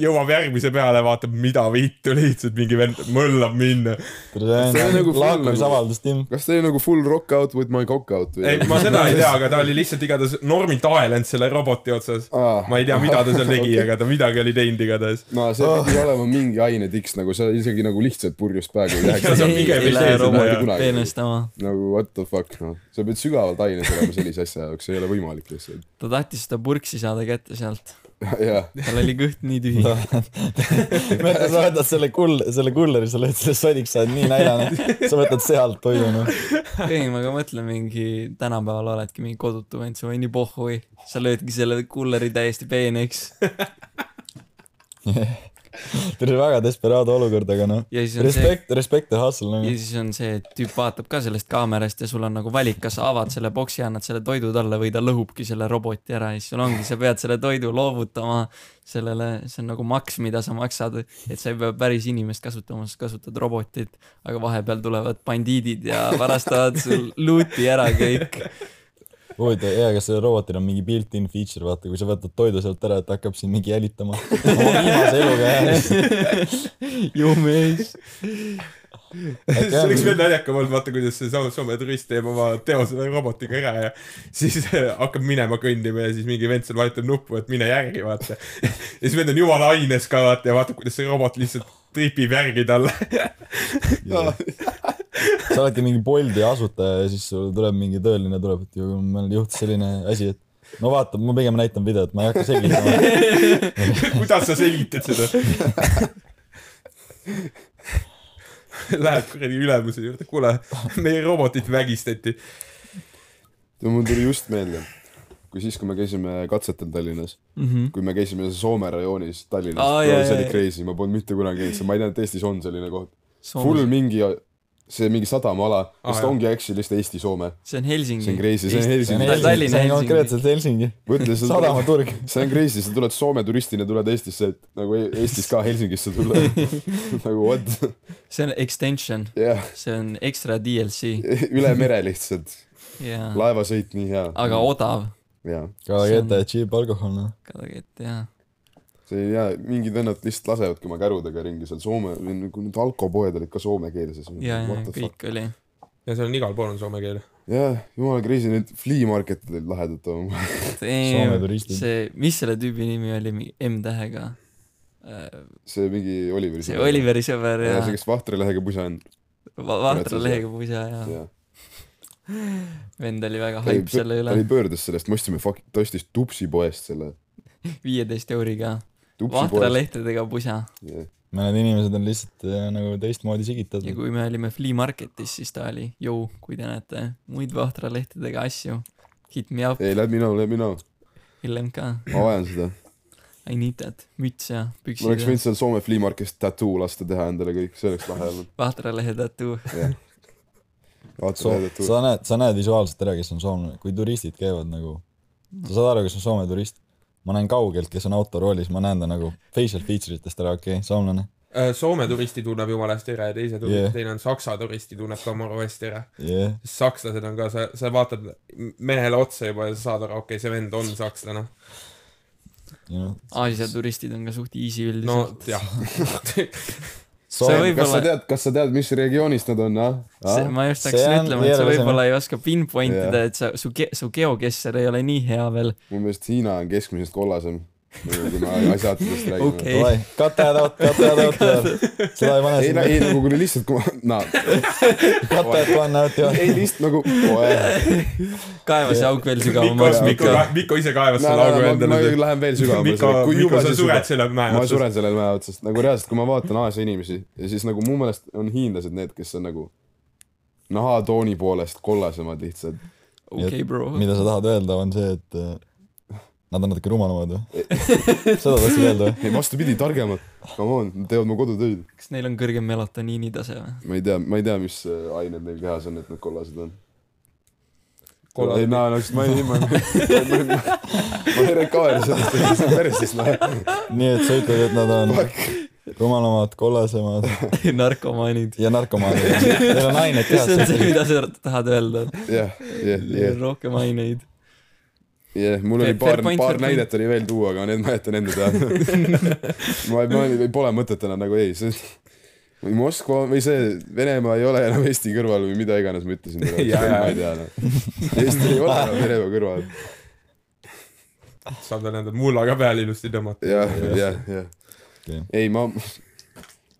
S6: jõuab järgmise peale , vaatab , mida vittu lihtsalt mingi vend möllab minna .
S4: See on nagu full
S5: lahkumisavaldus , Tim .
S4: kas see oli nagu full rock out with my cock out või
S6: ei ?, ma seda ei tea , aga ta oli lihtsalt igatahes normilt aelenud selle roboti otsas .
S4: Aa.
S6: ma ei tea , mida ta seal tegi , aga ta midagi oli teinud igatahes .
S4: no see pidi olema mingi ainetiks nagu sa isegi nagu lihtsalt purjus peaga ei
S6: Ja
S4: läheks
S6: sa .
S7: ei,
S6: pigem
S7: ei
S6: ei
S7: lähe
S6: tee seda, jah.
S7: roboti
S4: Kunagi.
S7: peenestama .
S4: nagu what the fuck noh , sa pead sügavalt aines olema sellise asja jaoks , see ei ole võimalik lihtsalt .
S7: ta tahtis seda purksi saada kätte sealt ,
S4: jah ,
S7: tal oli kõht nii tühi .
S5: mõtle , sa võtad selle kull- , selle kulleri , sa lööd selle sodiks , sa oled nii näljane . sa võtad sealt toidu , noh .
S7: ei , ma ka mõtlen mingi , tänapäeval oledki mingi kodutu vend , sul on nii pohhui , sa löödki selle kulleri täiesti peeneks
S5: tuli väga desperaado olukord , aga noh .
S7: ja siis on see ,
S5: respekt , respekt ja hustle , noh
S7: ja . siis on see , et tüüp vaatab ka sellest kaamerast ja sul on nagu valik , kas sa avad selle boksi , annad selle toidu talle või ta lõhubki selle roboti ära ja siis sul ongi , sa pead selle toidu loovutama sellele , see on nagu maks , mida sa maksad , et sa ei pea päris inimest kasutama , sa kasutad robotit , aga vahepeal tulevad bandiidid ja varastavad sul luuti ära kõik .
S5: huvitav , jaa , aga sellel robotil on mingi built-in feature , vaata , kui sa võtad toidu sealt ära , et ta hakkab sind mingi jälitama . oma viimase eluga jäädes .
S7: ju mees .
S6: see oleks veel naljakam olnud , vaata , kuidas seesama Soome turist teeb oma teose robotiga ära ja siis hakkab minema kõndima ja siis mingi vend seal vajutab nuppu , et mine järgi , vaata . ja siis vend on jumala aines ka , vaata , ja vaatab , kuidas see robot lihtsalt tripib järgi talle .
S5: sa oledki mingi Bolti asutaja ja siis sul tuleb mingi tööline tuleb , et ju meil juhtus selline asi , et no vaata , ma pigem näitan videot , ma ei hakka selgitama .
S6: kuidas sa selgitad seda ? läheb kuradi ülemuse juurde , kuule , meie robotit vägistati .
S4: mul tuli just meelde , kui siis , kui me käisime katsetel Tallinnas ,
S7: mhmh .
S4: kui me käisime Soome rajoonis Tallinnas
S7: Aa,
S4: oh, ,
S7: jaa,
S4: see
S7: jaa,
S4: oli
S7: jaa.
S4: crazy , ma polnud mitte kunagi käinud seal , ma ei teadnud , et Eestis on selline koht . full mingi , see mingi sadamaala ,
S6: Aa,
S4: sest
S6: jah.
S4: ongi actually lihtsalt Eesti-Soome .
S7: see on
S4: see on
S7: Helsingi .
S4: crazy , see on
S7: Mm. Eesti-
S4: Helsingi
S7: Tal- . Tallinna,
S5: see on
S7: Helsingi.
S5: konkreetselt Helsingi .
S4: mõtle , see on ,
S5: sadamaturg .
S4: see on crazy , sa tuled Soome turistina , tuled Eestisse , et nagu E- Eestis ka Helsingisse tulla . nagu what ,
S7: see on extension ,
S4: jah ,
S7: see on ekstra DLC
S4: üle mere lihtsalt ,
S7: ja ,
S4: laevasõit nii hea .
S7: aga odav .
S4: jaa ,
S5: Kalageta ja cheap alkohol , noh .
S7: kadagett jah ,
S4: see jaa , mingid vennad lihtsalt lasevadki oma kärudega ringi seal Soome , need alkopoed olid ka soomekeelses .
S7: ja , ja kõik oli .
S6: ja seal on igal pool on soome keel .
S4: jah , jumala crazy , need flea market'id olid lahedad oma .
S5: Soome turistid.
S7: eh, see , mis selle tüübi nimi oli , M tähega ?
S4: see mingi Oliveri
S7: see . Oliveri sõber ja
S4: jaa , see , kes vahtrilähega pusa on .
S7: Va- Vahtra lehega pusa ja
S4: jaa .
S7: vend oli väga
S4: ta oli
S7: haip selle
S4: ta oli
S7: üle ,
S4: pöördes sellest , me ostsime fuck , ta ostis tupsipoest selle .
S7: viieteist euriga . Vahtra
S4: tupsipoest .
S7: lehtedega pusa
S4: jah ,
S5: mõned inimesed on lihtsalt äh, nagu teistmoodi
S7: ja
S5: sigitatud .
S7: kui me olime Flea Marketis , siis ta oli , jõu , kui te näete muid Vahtra lehtedega asju , hit me up ,
S4: ei , let me know , let me know ,
S7: LMK ,
S4: ma vajan seda .
S7: I need that , müts ja
S4: ma oleks
S7: püksid
S4: võinud . seal Soome flea market'is tattoo lasta teha endale kõik , see oleks lahe olnud .
S7: Vahtra lehe tattoo ,
S4: jah . vaata
S5: So,
S4: seda tattoo .
S5: sa näed , sa näed visuaalselt ära , kes on soomlane , kui turistid käivad nagu , sa saad aru , kes on Soome turist . ma näen kaugelt , kes on autoroolis , ma näen ta nagu facial feature itest ära , okei okay, , soomlane
S6: Äh, Soome turisti tunneb jumala hästi ära ja teise turi-
S5: Jah.
S6: yeah. , teine on saksa turisti tunneb ka omaru hästi ära .
S5: yeah. .
S6: sakslased on ka , sa , sa vaatad mehele otsa juba ja sa saad aru , okei okay, , see vend on sakslane .
S5: You know.
S7: Aasia turistid on ka suht easy
S6: no
S7: üldiselt .
S6: jah ,
S7: see
S5: Soome ,
S4: kas sa
S7: võib-olla ,
S4: tead , kas sa tead , mis regioonist nad on , ah ?
S7: ma just
S5: see on
S7: hakkasin ütlema , et sa
S5: keerulisem.
S7: võib-olla ei oska pinpoint ida , et sa , su ge- , su geokesser ei ole nii hea veel .
S4: mu meelest Hiina on keskmisest kollasem , kui me asjatidest räägime
S7: Okei.
S5: davai , cut that out , cut that out , seda ei pane
S4: ei ,
S5: sinna ,
S4: ei nagu kui lihtsalt , kui ma , no ,
S5: cut that one out ja
S4: ei lihtsalt nagu ,
S7: kaeva see auk veel
S6: Mikko ,
S7: sügavamaks ,
S6: Mikko
S7: Mikko .,
S6: Mikko ise kaevas
S4: no,
S6: selle
S4: no, no,
S6: augu
S4: ma, ma
S6: endale .
S4: lähen veel sügavamale
S6: Mikko , Mikko , sa sured . selle mäe
S4: ma
S6: otsast .
S4: suren sellele mäe otsast , nagu reaalselt , kui ma vaatan Aasia inimesi ja siis nagu mu meelest on hiinlased need , kes on nagu nahatooni poolest kollasemad lihtsalt .
S7: okei , bro .
S5: mida sa tahad öelda , on see , et äh, nad on natuke rumalamad või ? seda tahtsid öelda või ?
S4: ei , vastupidi , targemad . Come on , nad teevad mu kodutöid .
S7: kas neil on kõrgem melatoniini tase või ?
S4: ma ei tea , ma ei tea , mis äh, ained neil kehas on , et nad kollased on . ei , no , no , ma ei , ma , ma , ma ei recover sellest , see on päris siis lahe .
S5: nii et sa ütled , et nad on rumalamad , kollasemad
S7: narkomaanid .
S5: ja narkomaanid , neil on ained
S7: kas see on
S5: kehas .
S7: see , mida sa tahad öelda ?
S4: jah , jah , jah ,
S7: rohkem aineid .
S4: jah , mul oli
S7: Fair- fair
S4: paar ,
S7: point, fair
S4: paar
S7: point.
S4: näidet oli veel tuua , aga need ma jätan enda teada . ma , ma ei , pole mõtet enam nagu ei , see või Moskva või see Venemaa ei ole enam Eesti kõrval või mida iganes ma ütlesin talle ,
S6: Jaa,
S4: ma
S6: jaa.
S4: ei tea enam . Eesti ei ole enam Venemaa kõrval .
S6: saab tal enda mulla ka peale ilusti tõmmata .
S4: jah , jah , jah .
S5: Okei.
S4: ei , ma ,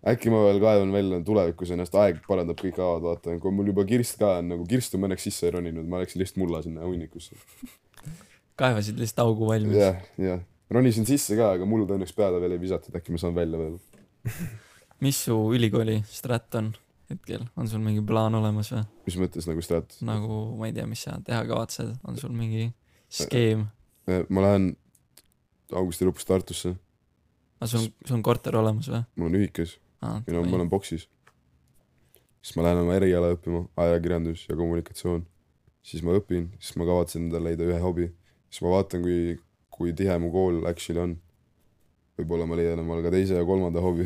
S4: äkki ma veel kaevan välja tulevikus ennast , aeg parandab kõik haavad , vaata , kui mul juba kirst ka on nagu kirstu ma õnneks sisse ei roninud , ma läksin lihtsalt mulla sinna hunnikusse .
S7: kaevasid lihtsalt augu valmis .
S4: jah , jah , ronisin sisse ka , aga muld õnneks peale veel ei visatud , äkki ma saan välja veel .
S7: mis su ülikooli strat on hetkel ? on sul mingi plaan olemas või ?
S4: mis mõttes nagu strat ?
S7: nagu ma ei tea , mis sa teha kavatsed , on sul mingi skeem ?
S4: Eh, ma lähen augusti lõpus Tartusse ,
S7: aga sul on , sul on korter olemas või ? Ah,
S4: mul on ühikas ja no ma
S7: aa ,
S4: olen boksis . siis ma lähen oma eriala õppima , ajakirjandus ja kommunikatsioon . siis ma õpin , siis ma kavatsen endale leida ühe hobi , siis ma vaatan , kui , kui tihe mu kool actually on . võib-olla ma leian omale ka teise ja kolmanda hobi .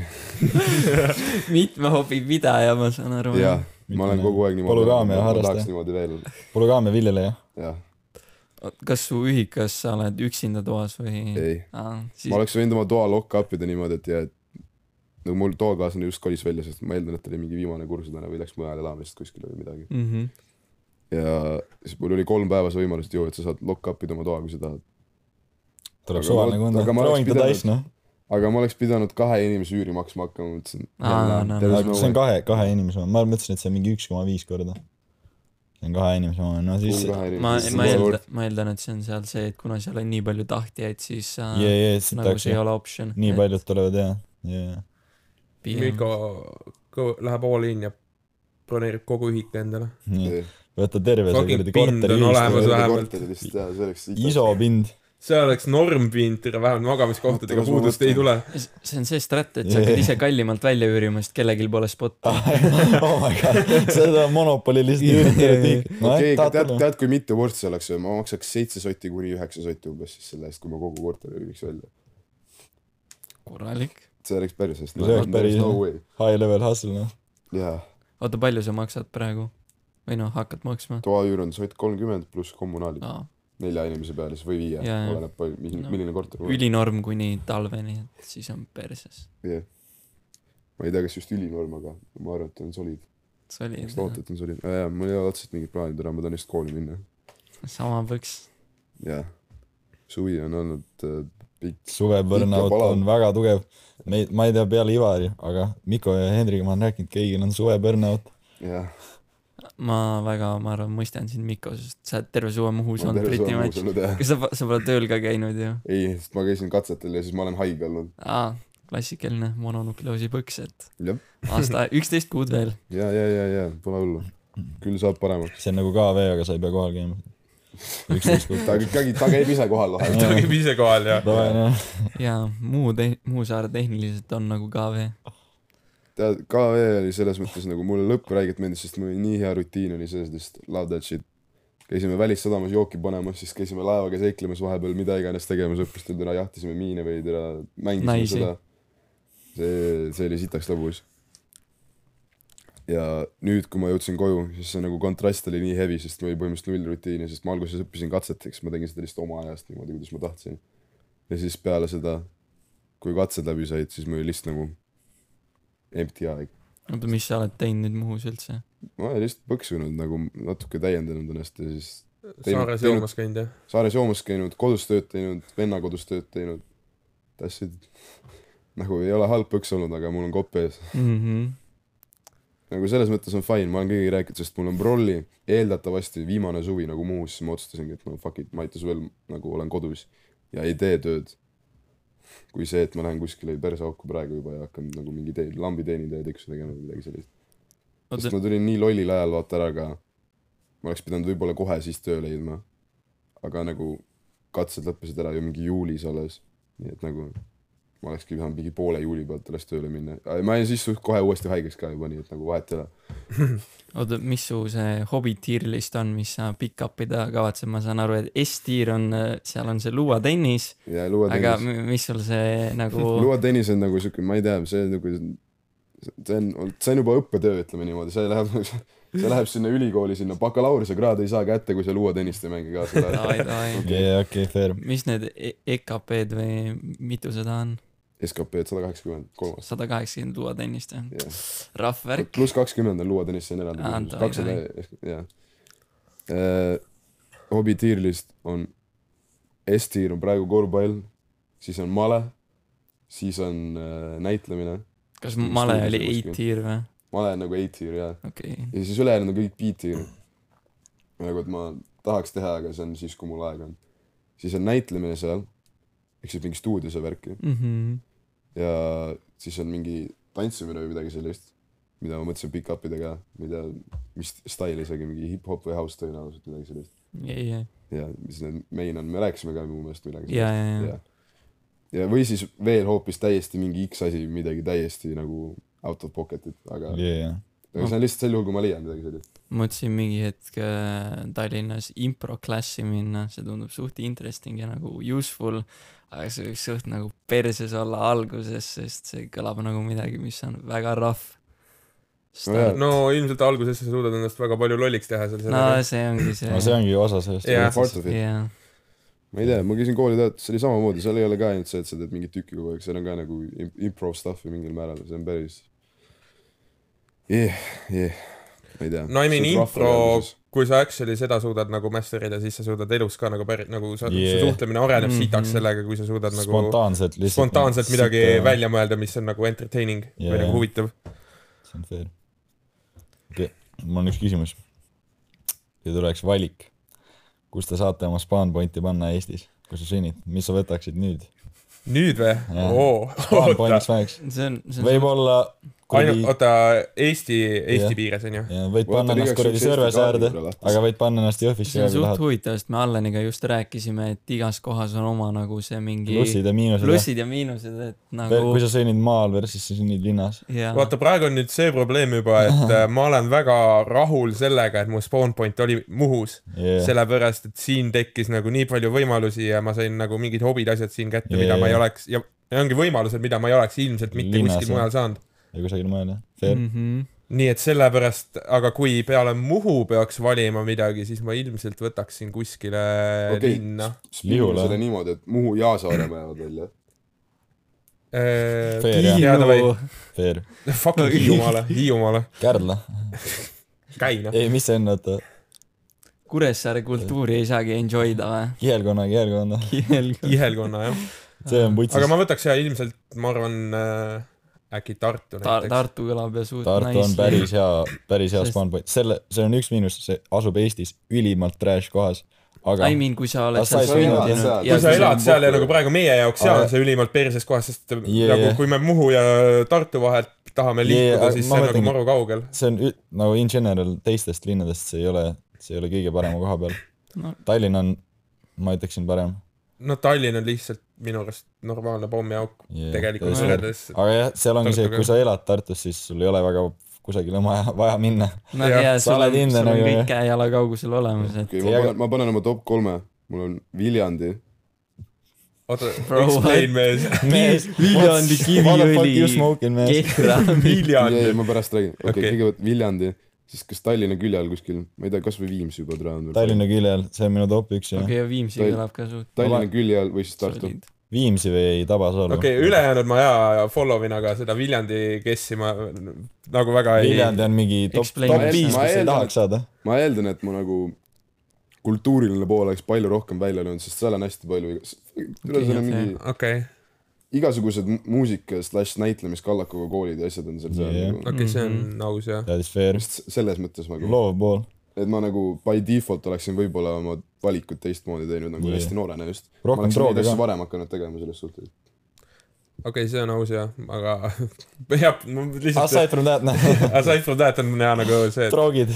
S7: mitme hobi pidaja , ma saan aru .
S4: jah , ma olen kogu aeg niimoodi .
S5: Polügaamia harrastaja.
S4: tahaks niimoodi veel ,
S5: polügaamia viljeleja .
S4: jah ,
S7: kas su ühikas sa oled üksinda toas või ?
S4: ei .
S7: aa , siis
S4: ma oleks võinud oma toa lock up ida niimoodi , et jah , et nagu mul toakaaslane just kolis välja , sest ma eeldan , et ta oli mingi viimane kursuslane või läks mujale elama vist kuskile või midagi .
S7: mhmh ,
S4: ja siis mul oli kolm päevas võimalust , et joo , et sa saad lock up ida oma toa , kui sa tahad .
S5: tuleb
S4: Aga
S5: suvaline
S4: ma-
S5: kunda ,
S4: aga ma oleks
S5: throwing the
S4: pidanud-
S5: dice noh .
S4: aga ma oleks pidanud kahe inimese üüri maksma hakkama , mõtlesin .
S7: Aa, no, no.
S5: see on kahe , kahe inimese oma , ma mõtlesin , et see on mingi üks koma viis korda . see on kahe inimese oma , no siis jee ,
S7: ma , ma eeldan , ma eeldan , et see on seal see , et kuna seal on nii palju tahtjaid , siis äh,
S5: jee , siit
S7: nagu
S5: tahaks
S7: see ei ole optsioon .
S5: nii paljud tulevad ja , ja ,
S6: Mikko , läheb all in ja broneerib kogu ühika endale .
S5: nii ,
S4: Ei,
S5: võta terve see
S6: Fucking
S5: kuradi
S6: pind on
S5: korteri ,
S6: olemas.
S4: terve
S6: vähemalt-
S4: korteri lihtsalt jaa , see oleks
S5: iso pind .
S6: see oleks normpind , tere , vähemalt magamiskohtadega
S4: Oota, kas ma
S6: puudust ei
S4: mõtlen?
S6: tule .
S7: see on see strat , et sa hakkad ise kallimalt välja üürima , sest kellelgi pole spotti .
S5: oh my god , seda monopoli lihtsalt ei ürita kõik .
S4: okei , tead , tead , kui mitu vorstsi oleks , ma maksaks seitse sotti kuni üheksa sotti umbes siis selle eest , kui ma kogu korteri viiks välja .
S7: korralik .
S4: see oleks päris hästi .
S5: No see oleks päris-
S4: no way .
S5: high level hustle noh .
S4: jaa ,
S7: oota , palju sa maksad praegu ? või noh , hakkad maksma ?
S4: toaüür on sott kolmkümmend pluss kommunaalid
S7: aa ,
S4: nelja inimese peale siis või viie ,
S7: Jaa, jaa.
S4: oleneb palju ,
S7: No.
S4: milline korter .
S7: ülinorm kuni talveni , et siis on perses .
S4: jah . ma ei tea , kas just ülinorm , aga ma arvan , et on soliid .
S7: soliid
S4: eks . loota , et on soliid . mul ei ole otseselt mingit plaani täna , ma tahan lihtsalt kooli minna .
S7: sama võiks .
S4: jah . suvi on olnud äh, pikk .
S5: suve burnout
S4: palav.
S5: on väga tugev . me , ma ei tea peale Ivari , aga Miko ja Hendriga ma olen rääkinud , kõigil on suve burnout .
S4: jah .
S7: ma väga , ma arvan , mõistan sind , Mikko , sest sa oled terve suve Muhus olnud pretty much .
S4: jah .
S7: kas sa , sa pole tööl ka käinud ju ?
S4: ei , sest ma käisin katsetel ja siis ma olen haige olnud .
S7: aa , klassikaline mononukleoosi põks , et
S4: jah ,
S7: aasta üksteist kuud veel .
S4: ja , ja , ja , ja pole hullu . küll saab paremaks .
S5: see on nagu KV , aga sa ei pea kohal käima . üksteist kuud
S4: ta ikkagi , ta käib ise kohal vahel .
S6: ta käib ise kohal ja
S5: Davai, noh.
S7: ja Muu te- , Muusaare tehniliselt on nagu KV .
S4: tead , KV oli selles mõttes nagu mulle lõpp räigelt meeldis , sest mul oli nii hea rutiin oli selles mõttes , love that shit . käisime välissadamas jooki panemas , siis käisime laevaga seiklemas vahepeal , mida iganes tegemas õppustel , täna jahtisime miine või täna mängisime Naisi.
S7: Naisi.
S4: seda . see , see oli sitaks lõbus . ja nüüd , kui ma jõudsin koju , siis see nagu kontrast oli nii heavy , sest mul oli põhimõtteliselt null rutiini , sest ma alguses õppisin katseteks , ma tegin seda lihtsalt oma ajast niimoodi , kuidas ma tahtsin . ja siis peale seda , kui katsed läbi said , siis mul oli lihtsalt nagu empty aeg .
S7: oota , mis sa oled teinud nüüd Muhus üldse ?
S4: ma olen lihtsalt põksunud nagu natuke täiendanud ennast ja siis
S6: saares
S4: teinud-
S6: joomas käinud ja .
S4: saares joomas käinud , kodus tööd teinud , venna kodus tööd teinud . tassid nagu ei ole halb põks olnud , aga mul on kopp ees .
S7: Mhm.
S4: nagu selles mõttes on fine , ma olen kõigiga rääkinud , sest mul on brolli eeldatavasti viimane suvi nagu Muhus , siis ma otsustasingi , et no fuck it , ma aitas veel nagu olen kodus ja ei tee tööd . kui see , et ma lähen kuskile perseauku praegu juba ja hakkan nagu mingi tee , lambi teenindaja tiksu tegema või midagi sellist . sest
S7: oota ,
S4: ma tulin nii lollil ajal vaata ära ka , ma oleks pidanud võib-olla kohe siis tööle jõudma . aga nagu katsed lõppesid ära ju mingi juulis alles , nii et nagu ma olekski pidanud mingi poole juuli pealt alles tööle minna . ma jäin siis suht kohe uuesti haigeks ka juba , nii et nagu vahet ei ole .
S7: oota , mis su see hobi tier list on , mis sa pick up ida kavatsed , ma saan aru , et S-tiir on , seal on see luuatennis ,
S4: ja
S7: aga
S4: luuatennis ,
S7: mi- mis sul see nagu ,
S4: luuatennis on nagu siuke , ma ei tea , see on nagu , see on , see on juba õppetöö , ütleme niimoodi , see läheb , see läheb sinna ülikooli , sinna bakalaureusekraadi ei saa kätte , kui sa luuatennist ei mängi kaasa .
S7: davai , davai
S5: jaa , okei , fair .
S7: mis need E- EKP-d või mitu seda on ?
S4: SKP-d sada kaheksakümmend kolmas .
S7: sada kaheksakümmend luuatennist või ?
S4: jah .
S7: rahv värk .
S4: pluss kakskümmend on luuatennis , see on eraldi
S7: Aa,
S4: küsimus ,
S7: davai,
S4: kakssada , jah . hobi tier list on , S-tiir on praegu korvpall , siis on male , siis on äh, näitlemine ,
S7: kas
S4: Mis
S7: male
S4: tiiris
S7: oli
S4: see kuskil?
S7: A-tier või ?
S4: male on nagu A-tiir ja ,
S7: okei okay. ,
S4: ja siis ülejäänud on kõik B-tiir . nagu , et ma tahaks teha , aga see on siis , kui mul aega on . siis on näitlemine seal , ehk siis mingi stuudios ja värki
S7: mhmh ,
S4: ja siis on mingi tantsimine või midagi sellist , mida ma mõtlesin pick up ida ka , ma ei tea , mis stail isegi , mingi hip-hop või house tõenäoliselt midagi sellist .
S7: ja , ja ,
S4: ja siis need main on , me rääkisime ka mu meelest midagi
S7: ja , ja , ja ,
S4: ja. ja või siis veel hoopis täiesti mingi X asi , midagi täiesti nagu out of pocket'it , aga yeah. ,
S5: jaa ,
S4: aga see on lihtsalt sel juhul , kui ma leian midagi sellist .
S7: mõtlesin mingi hetk äh, Tallinnas improklassi minna , see tundub suht interesting ja nagu useful , aga see võiks suht nagu perses olla alguses , sest see kõlab nagu midagi , mis on väga rough .
S4: jaa.
S7: no,
S6: no ilmselt alguses sa suudad ennast väga palju lolliks teha seal
S7: no
S6: sellega .
S7: see ongi see
S5: no see ongi ju osa sellest .
S6: Jah.
S4: part of it ,
S7: jah ,
S4: ma ei tea , ma käisin kooli teatud , see oli samamoodi , seal ei ole ka ainult see , et sa teed mingit tükki kogu aeg , seal on ka nagu im- improv stuff'i mingil määral , see on päris yeah, . Yeah. ma ei tea .
S6: no I mean impro , kui sa actually seda suudad nagu master ida , siis sa suudad elus ka nagu päris nagu sa yeah. ,
S5: Yeah.
S6: su suhtlemine areneb mm
S7: Mhm.
S6: -hmm. sitaks sellega , kui sa suudad nagu
S5: spontaanselt lihtsalt . nagu äh,
S6: spontaanselt midagi Sita. . välja mõelda , mis on nagu entertaining yeah.
S5: Jaa.
S6: või nagu huvitav .
S5: see on fair . okei , mul on üks küsimus . kui tuleks valik , kus te saate oma spawn pointi panna Eestis , kus sa sünnid , mis sa võtaksid nüüd ?
S6: nüüd või
S5: Jah.
S6: yeah. ? oo ,
S5: spawn
S6: oota .
S5: point'iks väheks .
S7: see on , see on ,
S5: võib-olla
S6: ainult ,
S5: kuradi ,
S6: oota , Eesti , Eesti
S5: Jah.
S6: piires on ju ?
S5: ja võid panna ennast kuradi Sõrvese äärde , aga võid panna ennast Jõhvisse
S7: see
S5: ka
S7: on
S5: kui
S7: suht
S5: tahad .
S7: huvitav , sest me Allaniga just rääkisime , et igas kohas on oma nagu see mingi
S5: plussid ja miinused jah.
S7: plussid ja miinused , et nagu
S5: kui sa sõnnid maal versus sa sõnnid linnas .
S7: jaa ,
S6: vaata , praegu on nüüd see probleem juba , et äh, ma olen väga rahul sellega , et mu spawn point oli Muhus yeah. ,
S5: jah ,
S6: sellepärast et siin tekkis nagu nii palju võimalusi ja ma sain nagu mingid hobid , asjad siin kätte yeah. , mida
S5: Jajah.
S6: ma ei oleks ja ja ongi võimalused , mida ma ei oleks ilmselt
S5: Linnas,
S6: mitte Linnas, kuskil
S5: jah.
S6: mujal saanud .
S5: ja kusagil mujal jah , fair .
S7: mhmh ,
S6: nii et sellepärast , aga kui peale Muhu peaks valima midagi , siis ma ilmselt võtaksin kuskile okay.
S4: Okei.
S6: linna .
S5: Lihula.
S4: Lihula . selle niimoodi , et Muhu ja Saaremaa jäävad välja .
S6: Äh,
S5: Fair, jah.
S6: teadavalt ,
S5: fair .
S6: fucking Hiiumaale , Hiiumaale ,
S5: Kärdla ,
S6: käi noh .
S5: ei mis see on , oota ,
S7: Kuressaare kultuuri ei saagi enjoy ida või ?
S5: kihelkonna , kihelkonna ,
S7: kihelkond .
S6: Kihelkonna jah ,
S5: see on
S6: aga
S5: putsis .
S6: ma võtaks ja ilmselt , ma arvan äh, äkki Tartu
S7: Ta- ,
S6: näiteks .
S7: Tartu kõlab ja suht
S5: Tartu on päris hea , päris hea
S7: Sest-
S5: spawn point , selle , see on üks miinus , see asub Eestis ülimalt trash kohas , aga
S7: I mean , kui sa oled
S5: Aga sa ei
S7: seal
S5: saa elada
S7: sündinud
S4: seal.
S6: kui
S7: ja
S6: sa
S7: kui sa
S6: elad seal ja nagu praegu meie jaoks , seal
S5: Aga-
S6: on see ülimalt perses kohas , sest
S5: Yeah.
S6: nagu kui me Muhu ja Tartu vahelt tahame
S5: Yeah,
S6: liikuda
S5: aga , ma
S6: siis see on nagu
S5: mõtlengi-
S6: maru kaugel .
S5: see on ü- nagu in general teistest linnadest , see ei ole , see ei ole kõige parema koha peal
S7: No.
S5: no. . Tallinn on , ma ütleksin parem
S6: no Tallinn on lihtsalt minu arust normaalne pommiauk
S5: yeah,
S6: tegelikult . võrreldes .
S5: aga jah , seal ongi see , et
S6: Tartuga.
S5: kui sa elad Tartus , siis sul ei ole väga kusagile maja , vaja minna .
S7: no
S6: Jah,
S7: noh, jaa ,
S5: sa
S7: sul on
S5: oled , hinde
S7: sul on
S5: nagu,
S7: kõik
S5: jah.
S7: käejala kaugusel olemas , et
S4: okei , ma
S5: Ei,
S4: panen , ma panen oma top kolme . mul on Viljandi .
S6: oota ,
S7: Bro,
S6: explain mees .
S5: mees ,
S7: Viljandi
S5: what the fuck
S7: kiviõli-
S5: you smoking , mees ?
S7: Kehra
S4: ei , ei ,
S6: Viljandi .
S4: ma pärast räägin . okei
S6: Okei.
S4: okay. , kõigepealt Viljandi , siis kas Tallinna külje all kuskil , ma ei tea , kasvõi Viimsi juba tuleb .
S5: Tallinna külje all , see on minu top üks ja okay.
S7: okei , ja Viimsi
S4: Tall-
S7: kõlab ka suht
S4: Tallinna külje all või siis Tartu .
S7: soliid .
S5: Viimsi või ei taba soolu
S6: okei , ülejäänud ma jaa , follow in , aga seda Viljandi kessi ma nagu väga ei .
S5: Viljandi on mingi top ,
S7: Explain
S5: top
S7: mees.
S5: viis ,
S4: Ma
S5: kes ei
S4: eeldan,
S5: tahaks saada .
S4: ma eeldan , et mu nagu kultuuriline pool oleks palju rohkem välja löönud , sest seal on hästi palju igas- , üle seal on
S7: Kindlasti,
S4: mingi
S6: okei ,
S4: igasugused mu- muusika slaš näitlemiskallakuga koolid ja asjad on seal seal
S5: Jah.
S4: nagu .
S6: okei , see on aus jah .
S5: That is fair ,
S4: just selles mõttes nagu ,
S5: loov pool .
S4: et ma nagu by default oleksin võib-olla oma valikud teistmoodi teinud nagu
S5: Jah.
S4: hästi noorena just . ma
S5: Rohkem
S4: oleksin neid
S5: proovi ka.
S4: asju varem hakanud tegema selles suhtes .
S6: okei , see on aus jah , aga jah , ma
S5: Aside
S6: lihtsalt ,
S5: from that , noh ,
S6: aside from that on jah nagu see , et
S5: troogid .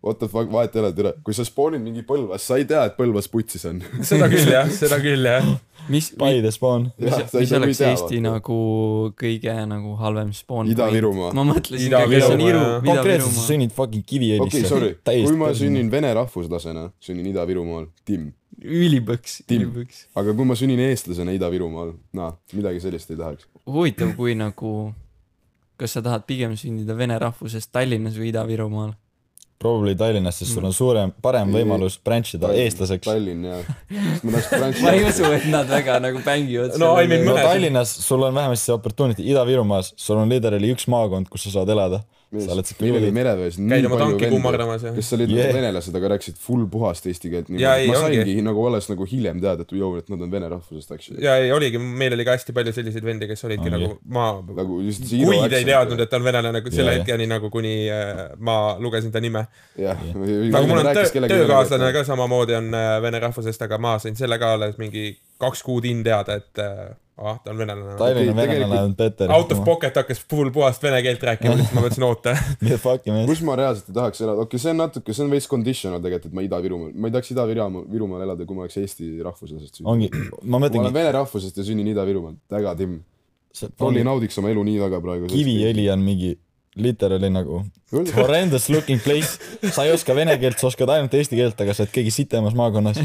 S4: What the fuck , vahet ei ole , tere , kui sa spoonid mingi Põlvas , sa ei tea , et Põlvas putsis on .
S6: seda küll jah , seda küll jah .
S7: mis ,
S5: Paide spawn .
S7: mis , mis oleks Eesti ? nagu kõige nagu halvem spawn ?
S4: Ida-Virumaa.
S7: ma mõtlesin ka , kas on Iru
S6: Ida-Virumaa, jah. ,
S5: konkreetselt sa
S7: Ida-Virumaa .
S5: sünnid fucking
S4: okei ,
S5: Kiviõlisse
S4: sorry , kui ma . sünnin vene rahvuslasena , sünnin Ida-Virumaal , Tim
S7: ülipõks ,
S4: Tim.
S7: ülipõks .
S4: aga kui ma sünnin eestlasena Ida-Virumaal , noh , midagi sellist ei tahaks .
S7: huvitav , kui nagu , kas sa tahad pigem sündida vene rahvusest Tallinnas või Ida-Virumaal ?
S5: Probably Tallinnas , sest sul on suurem , parem võimalus branch ida eestlaseks .
S4: Tallinn ja , ma tahaks
S7: ma ei usu
S4: Prantsusmaale . ,
S7: et nad väga nagu mängivad
S6: No I mean,
S5: no
S6: mõned-
S5: Tallinnas sul on vähemasti see opportunity , Ida-Virumaas sul on literally üks maakond , kus sa saad elada . sa oled siuke
S4: meil oli
S5: kuradi ,
S4: mereväes nii
S6: käid oma
S4: palju
S6: tanki
S4: vende ,
S6: kummardamas ja .
S4: kes olid
S5: Yeah.
S4: yeah. venelased , aga rääkisid full puhast eesti keelt nii
S6: Jaa, ei,
S4: palju , ma
S6: ongi.
S4: saingi nagu alles nagu hiljem teada , et joo , et nad on vene rahvusest , eks ju .
S6: ja ei oligi , meil oli ka hästi palju selliseid vendi , kes olidki
S5: Ongi.
S6: nagu ma ,
S4: nagu lihtsalt see
S6: kuid ei teadnud , et ta on venelane , selle
S5: Jaa, jah.
S6: hetkeni nagu kuni äh, ma lugesin ta nime .
S4: jah ,
S6: nagu mul on töö , töökaaslane . ka samamoodi on äh, vene rahvusest , aga ma sain selle ka alles mingi kaks kuud in teada , et äh, ah , ta on venelane .
S5: Tallinna
S4: Okei,
S5: venelane on better .
S6: Out of pocket hakkas full puhast vene keelt rääkima , siis ma mõtlesin oota .
S5: pocket . Fuck'i mees .
S4: kus ma reaalselt ei tahaks elada , okei okay, , see on natuke , see on veits conditional tegelikult , et ma Ida-Virumaal , ma ei tahaks Ida-Virumaal Virumaal elada , kui ma oleks eesti rahvuslasest . ma
S5: ongi , ma
S4: olen
S5: mõtlengi ,
S4: vene rahvusest ja sünnin Ida-Virumaal , väga timm . Rolli naudiks oma elu nii väga praegu .
S5: Kiviõli on mingi literally nagu horrendous looking place , sa ei oska vene keelt , sa oskad ainult eesti keelt , aga sa oled keegi sitemas maakonnas .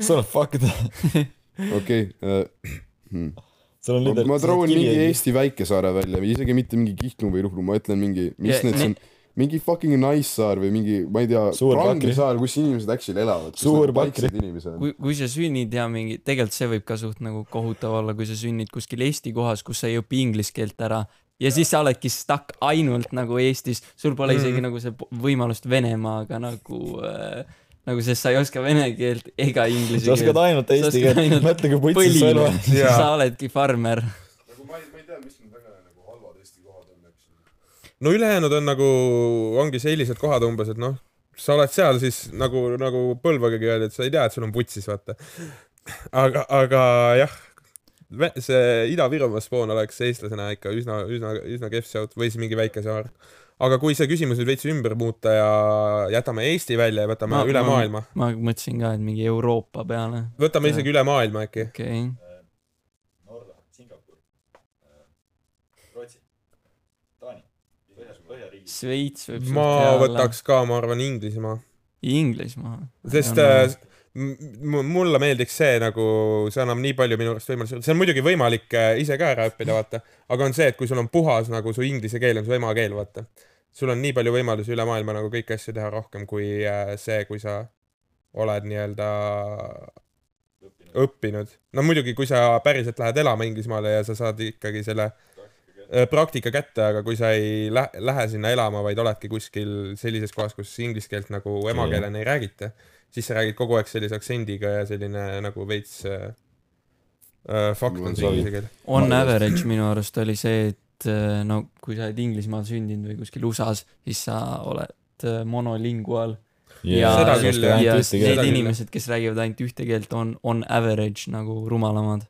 S5: sul on fucked ,
S4: okei ,
S5: sul on
S4: ma
S5: literally
S4: toon mingi . Eesti väikesaare välja või isegi mitte mingi Kihnu või Ruhnu , ma ütlen mingi , mis
S7: Ja
S4: need
S7: ne-
S4: siin , mingi fucking Naissaar või mingi , ma ei tea ,
S5: Suur Pakri.
S4: Pranglisaar , kus inimesed actually elavad .
S5: Suur Pakri.
S4: inimesed on .
S7: kui , kui sa sünnid ja mingi , tegelikult see võib ka suht nagu kohutav olla , kui sa sünnid kuskil Eesti kohas , kus sa ei õpi inglise keelt ära ja siis sa oledki stuck ainult nagu Eestis , sul pole isegi mm. nagu see po- võimalust Venemaaga nagu äh, , nagu sest sa ei oska vene keelt ega inglise
S5: sa oskad
S7: keelt .
S5: ainult eesti
S7: oskad
S5: keelt ,
S7: ainult
S5: mõtle kui putsis sa
S7: põline
S5: oled .,
S6: Jaa.
S7: sa oledki farmer .
S4: ma ei , ma ei tea , mis need väga nagu halvad Eesti kohad on , eks ju .
S6: no ülejäänud on nagu , ongi sellised kohad umbes , et noh , sa oled seal siis nagu , nagu Põlvagagi öeldi , et sa ei tea , et sul on putsis , vaata . aga , aga jah , see Ida-Virumaa spoon oleks eestlasena ikka üsna , üsna , üsna kehv sealt või siis mingi väike saar . aga kui see küsimus nüüd veits ümber muuta ja jätame Eesti välja ja võtame
S7: Ma-
S6: üle
S7: ma-
S6: maailma ,
S7: ma mõtlesin ka , et mingi Euroopa peale ,
S6: võtame isegi üle maailma äkki .
S7: okei okay. .
S5: Norra , Singapur , Rootsi , Taani , põhja , põhjariigid .
S7: Šveits võib
S6: ma . võtaks ka , ma arvan , Inglismaa ,
S7: Inglismaa .
S6: sest
S7: Ja ma-
S6: äh, m- m- mulle meeldiks see nagu , see annab nii palju minu arust võimalusi , see on muidugi võimalik äh, ise ka ära õppida , vaata , aga on see , et kui sul on puhas nagu su inglise keel on su emakeel , vaata , sul on nii palju võimalusi üle maailma nagu kõiki asju teha rohkem kui äh, see , kui sa oled nii-öelda õppinud . no muidugi , kui sa päriselt lähed elama Inglismaale ja sa saad ikkagi selle äh, praktika kätte , aga kui sa ei lä- lähe sinna elama , vaid oledki kuskil sellises kohas , kus inglise keelt nagu emakeelena ei räägita , siis sa räägid kogu aeg sellise aktsendiga ja selline nagu veits äh, äh, fakt
S4: Mul on
S6: on see
S4: savi.
S6: inglise keel .
S7: On
S4: Ma-
S7: average minu arust oli see , et äh, no kui sa oled Inglismaal sündinud või kuskil USA-s , siis sa oled äh, monolingual ja,
S6: Seda
S7: ja,
S6: küll, jah.
S5: ja
S7: ja
S6: eesti keelt.
S7: need
S6: Seda küll,
S7: inimesed , kes räägivad ainult ühte keelt , on , on average nagu rumalamad .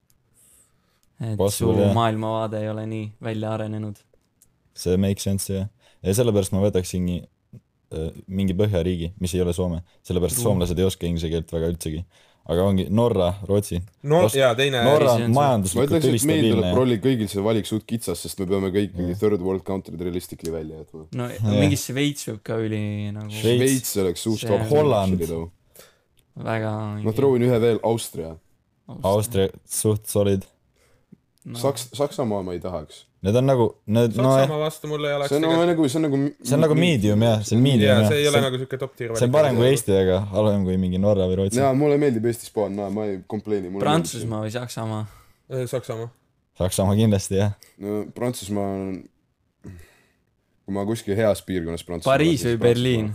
S7: et
S5: Vastus,
S7: su
S5: jah.
S7: maailmavaade ei ole nii välja arenenud .
S5: see make sense jah . ja sellepärast ma võtaksingi äh, mingi põhjariigi , mis ei ole Soome , sellepärast
S7: True.
S5: soomlased ei oska inglise keelt väga üldsegi . aga ongi Norra , Rootsi .
S6: no
S5: Vast-
S6: ja teine
S5: Norra on
S7: see on see-
S4: ma
S5: majanduslikult
S4: ütleks , et meil tuleb
S5: ülistabiilne ja
S4: rolli kõigil see valik suht kitsas , sest me peame kõik mingi
S5: Jah.
S4: third world country'd realistically välja jätma .
S7: no yeah.
S5: Jah.
S7: mingi Šveits võib ka üli nagu
S5: Šveits.
S4: Šveits oleks suht
S7: See-
S4: top
S5: Holland.
S4: actually, though.
S7: väga .
S4: ma troovin ühe veel , Austria .
S5: Austria suht solid .
S7: no,
S4: Saks- , Saksamaa ma ei tahaks .
S5: Need on nagu , need , nojah ,
S6: Saksamaa vastu mul ei oleks
S4: see on
S6: tegelikult-
S4: nagu , see on nagu
S5: see on nagu medium jah , see on medium
S6: jaa ,
S5: jah .
S6: see ei ole
S5: see
S6: nagu siuke top tier Äh,
S5: on parem kui . Eesti , aga halvem kui mingi Norra või Rootsi .
S4: jaa , mulle meeldib Eesti spaan , ma , ma ei complain'i .
S7: Prantsusmaa või Saksamaa .
S6: Saksamaa .
S5: Saksamaa kindlasti jah .
S4: no Prantsusmaa on , kui ma kuskil heas piirkonnas Prantsusmaa
S7: Pariis või Berliin ??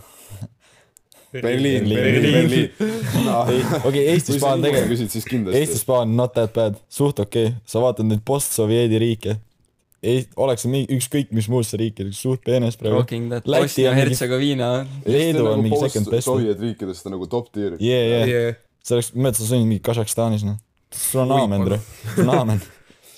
S4: Berliin ,
S5: Berliin.
S4: Berliin , Berliin .
S5: okei , Eesti
S4: kui sa
S5: spa
S4: Inglismaa
S5: on tegelikult ,
S4: küsid , siis kindlasti .
S5: Eesti spa on not that bad , suht okei okay. , sa vaatad neid post-sovjedi riike . ei , oleks see mingi ükskõik mis muust riiki , suht peenes praegu .
S7: Rocking that
S5: Läti on mingi-
S7: Bosnia-Hertsegoviina .
S5: Leedu on mingi second best .
S4: Sovjet nagu riikidest on nagu top tier .
S5: jee , jee ,
S6: Yeah.
S5: see oleks , mõtled , sa sünnid mingi Kasahstanis , noh . sul on
S6: Oi,
S5: aamen ,
S6: palun.
S5: sul on aamen .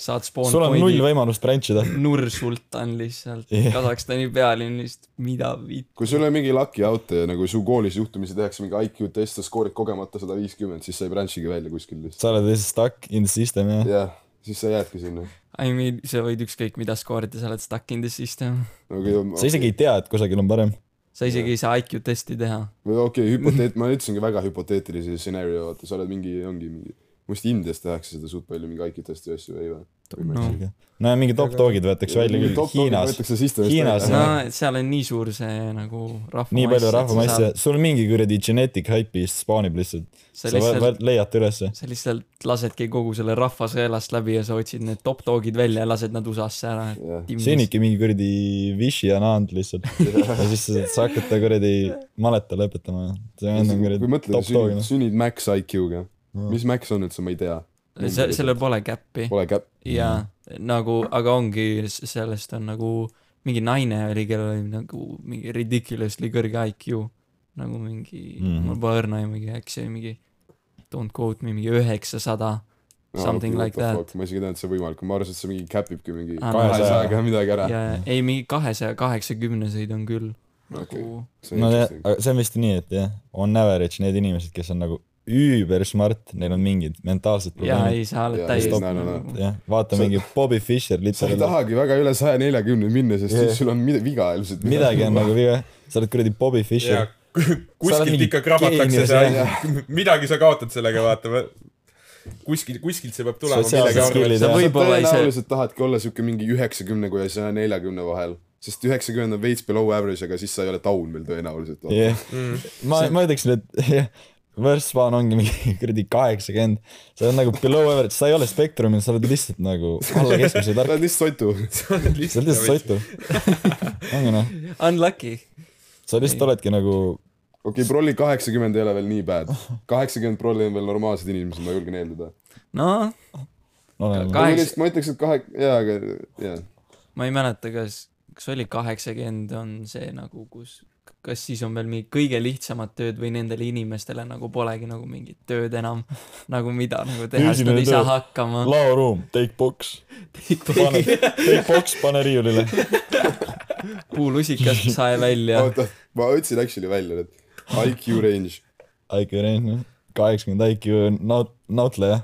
S7: saad
S5: sul on null
S7: spoonpointi .
S5: võimalust branch ida .
S7: Nursultan lihtsalt
S5: Jah.
S7: yeah. Kasahstani pealinnist , mida viit- .
S4: kui sul on mingi lucky out ja nagu su koolis juhtumisi tehakse mingi IQ test , sa skoorid kogemata sada viiskümmend , siis sa ei branch'igi välja kuskil lihtsalt .
S5: sa oled lihtsalt stuck in the system , jah .
S4: jah , siis sa jäädki sinna .
S7: I mean , sa võid ükskõik mida skoorida , sa oled stuck in the system .
S4: Nagu
S5: sa isegi ei tea , et kusagil on parem .
S7: sa isegi ei saa IQ testi teha .
S4: või okei okay, , hüpoteet- , ma ütlesingi väga hüpoteetilise scenario , vaata , sa oled mingi , ongi mingi , minu arust Indias tehakse seda suht palju , mingi IQ testi asju , ei või ?
S7: no,
S5: no ja mingi top dog'id võetakse välja küll , Hiinas . Hiinas,
S7: no
S5: jah.
S4: Hiinas .
S7: seal on nii suur see nagu rahvamass .
S5: nii palju rahvamassi , sul mingi kuradi genetic hype'i spaanib lihtsalt .
S7: sa
S5: sa vä-
S7: lihtsalt ,
S5: vä- leiad ta ülesse .
S7: sa lihtsalt lasedki kogu selle rahva sõelast läbi ja sa otsid need top dog'id välja ja lased nad USA-sse ära .
S4: Jah.
S5: sünnibki mingi kuradi vishi anand lihtsalt . ja siis sa- sa hakkad ta kuradi maleta lõpetama . see on
S4: kui
S5: kuradi
S4: mõtled ,
S5: top dog ,
S4: sünnid ,
S5: noh .
S4: sünnid max IQ-ga . mis max on üldse , ma ei tea .
S7: see , sellel pole käppi .
S4: Pole käpp .
S7: jaa , nagu , aga ongi , sellest on nagu mingi naine oli , kellel oli nagu mingi ridiculously kõrge IQ . nagu mingi mm. ,
S5: Mhm.
S7: mul pole õrna aimugi , äkki see oli mingi don't quote me , mingi üheksasada . Something like that. .
S4: ma isegi ei teadnud , et see võimalik on , ma arvasin , et see mingi cap ibki mingi
S7: Ah,
S4: kahesajaga midagi ära .
S7: ja ei , mingi kahesaja kaheksakümneseid on küll
S4: Okei.
S7: nagu
S5: no jah , aga see on vist nii , et jah , on average need inimesed , kes on nagu üüber smart , neil on mingid mentaalsed
S7: jaa ,
S5: probleemid .
S7: ei sa oled
S4: Jaa,
S7: täiesti
S4: ei, no, no, no.
S7: nagu
S5: jah , vaata mingi Bobby Fischer
S4: sa ei
S5: lihtsalt ,
S4: tahagi väga üle saja neljakümne minna , sest
S5: Jah.
S4: siis sul on mid- viga ilmselt .
S5: midagi on nagu viga , sa oled kuradi Bobby
S6: ja
S5: Fischer . oled
S6: kuskilt
S5: mingi
S6: ikka krabatakse
S5: geenius,
S6: see
S5: jah.
S6: asi , midagi sa kaotad sellega , vaata . kuskilt , kuskilt see peab tulema
S5: Sotsiaalsed
S6: millegi arvelt .
S5: skill'id,
S7: sa
S5: jah.
S7: võib-olla ei saa ,
S4: tõenäoliselt tahadki olla siuke mingi üheksakümne kui saja neljakümne vahel , sest üheksakümmend on veits below average , aga siis sa ei ole down veel tõenäoliselt .
S5: jah ,
S7: Mm.
S5: ma , ma ütleksin , et jah , worst one ongi mingi kuradi kaheksakümmend , sa oled nagu below average , sa ei ole spektrumil , sa oled lihtsalt nagu alla keskmise
S4: sa
S5: tark ,
S4: oled lihtsalt sotu .
S5: sa oled lihtsalt sotu . ongi noh ,
S7: unlucky .
S5: sa lihtsalt oledki nagu
S4: okei , prolli kaheksakümmend ei ole veel nii bad . kaheksakümmend prolli on veel normaalsed inimesed , ma julgen eeldada .
S7: noh ,
S5: olemas
S7: Ka- . Kaheksa-
S4: ma ütleks , et kahe , jaa , aga , jaa .
S7: ma ei mäleta , kas , kas oli kaheksakümmend on see nagu , kus kas siis on veel mingi kõige lihtsamad tööd või nendele inimestele nagu polegi nagu mingit tööd enam nagu mida nagu teha , sest
S5: Füüsiline
S7: nad ei saa
S5: töö.
S7: hakkama .
S5: laoruum , take box , pane , take box , pane riiulile .
S7: puulusikas sae välja .
S4: oota , ma otsin actually välja nüüd . IQ range ,
S5: IQ range , noh. kaheksakümmend IQ naut- , nautleja .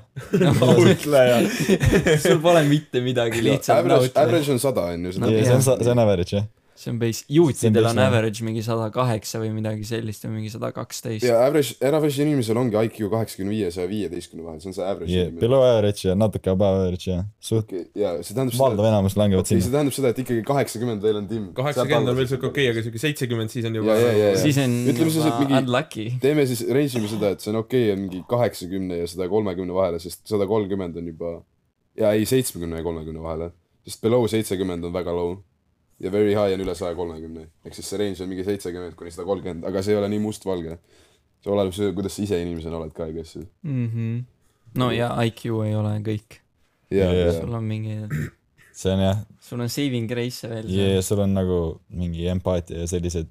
S6: ütleja .
S7: sul pole mitte midagi lihtsalt
S4: average ,
S7: nautida .
S4: average on sada on ju ,
S7: No
S5: see
S4: seda
S7: jah.
S5: on , see on average jah .
S7: see on base ,
S5: See on
S7: juutidel
S5: base,
S7: on
S5: jah.
S7: average mingi sada kaheksa või midagi sellist või mingi sada kaksteist .
S4: ja average , average inimesel ongi IQ kaheksakümne viie ja saja viieteistkümne vahel , see on see average
S5: Yeah,
S4: inimene .
S5: below average ja natuke above average ja suht
S4: ja see tähendab
S5: valdav
S4: seda ,
S5: enamus langevad
S4: ei
S5: sinna
S4: see . tähendab seda , et ikkagi kaheksakümmend veel on timm .
S6: kaheksakümmend on veel siuke okei , aga siuke seitsekümmend , siis on juba
S4: Ja, ja, ja, ja.
S7: siis on
S4: Ütleme siis, et
S7: juba
S4: mingi-
S7: unlucky .
S4: teeme siis , reisime seda , et see on okei okay, , mingi kaheksakümne ja sada kolmekümne vahele , sest sada kolmkümmend on juba , ja ei , seitsmekümne ja kolmekümne vahele , sest below seitsekümmend on väga low ja very high on üle saja kolmekümne , ehk siis see range on mingi seitsekümmend kuni sada kolmkümmend , aga see ei ole nii mustvalge . see oleneb see , kuidas sa ise inimesena oled ka , kes .
S7: mhmh . Mhm. no ja IQ ei ole kõik .
S4: jaa ,
S5: Jaa.
S4: jaa ,
S7: sul on mingi ,
S5: see on jah ,
S7: sul on saving grace veel seal.
S5: ja sul on nagu mingi empaatia ja sellised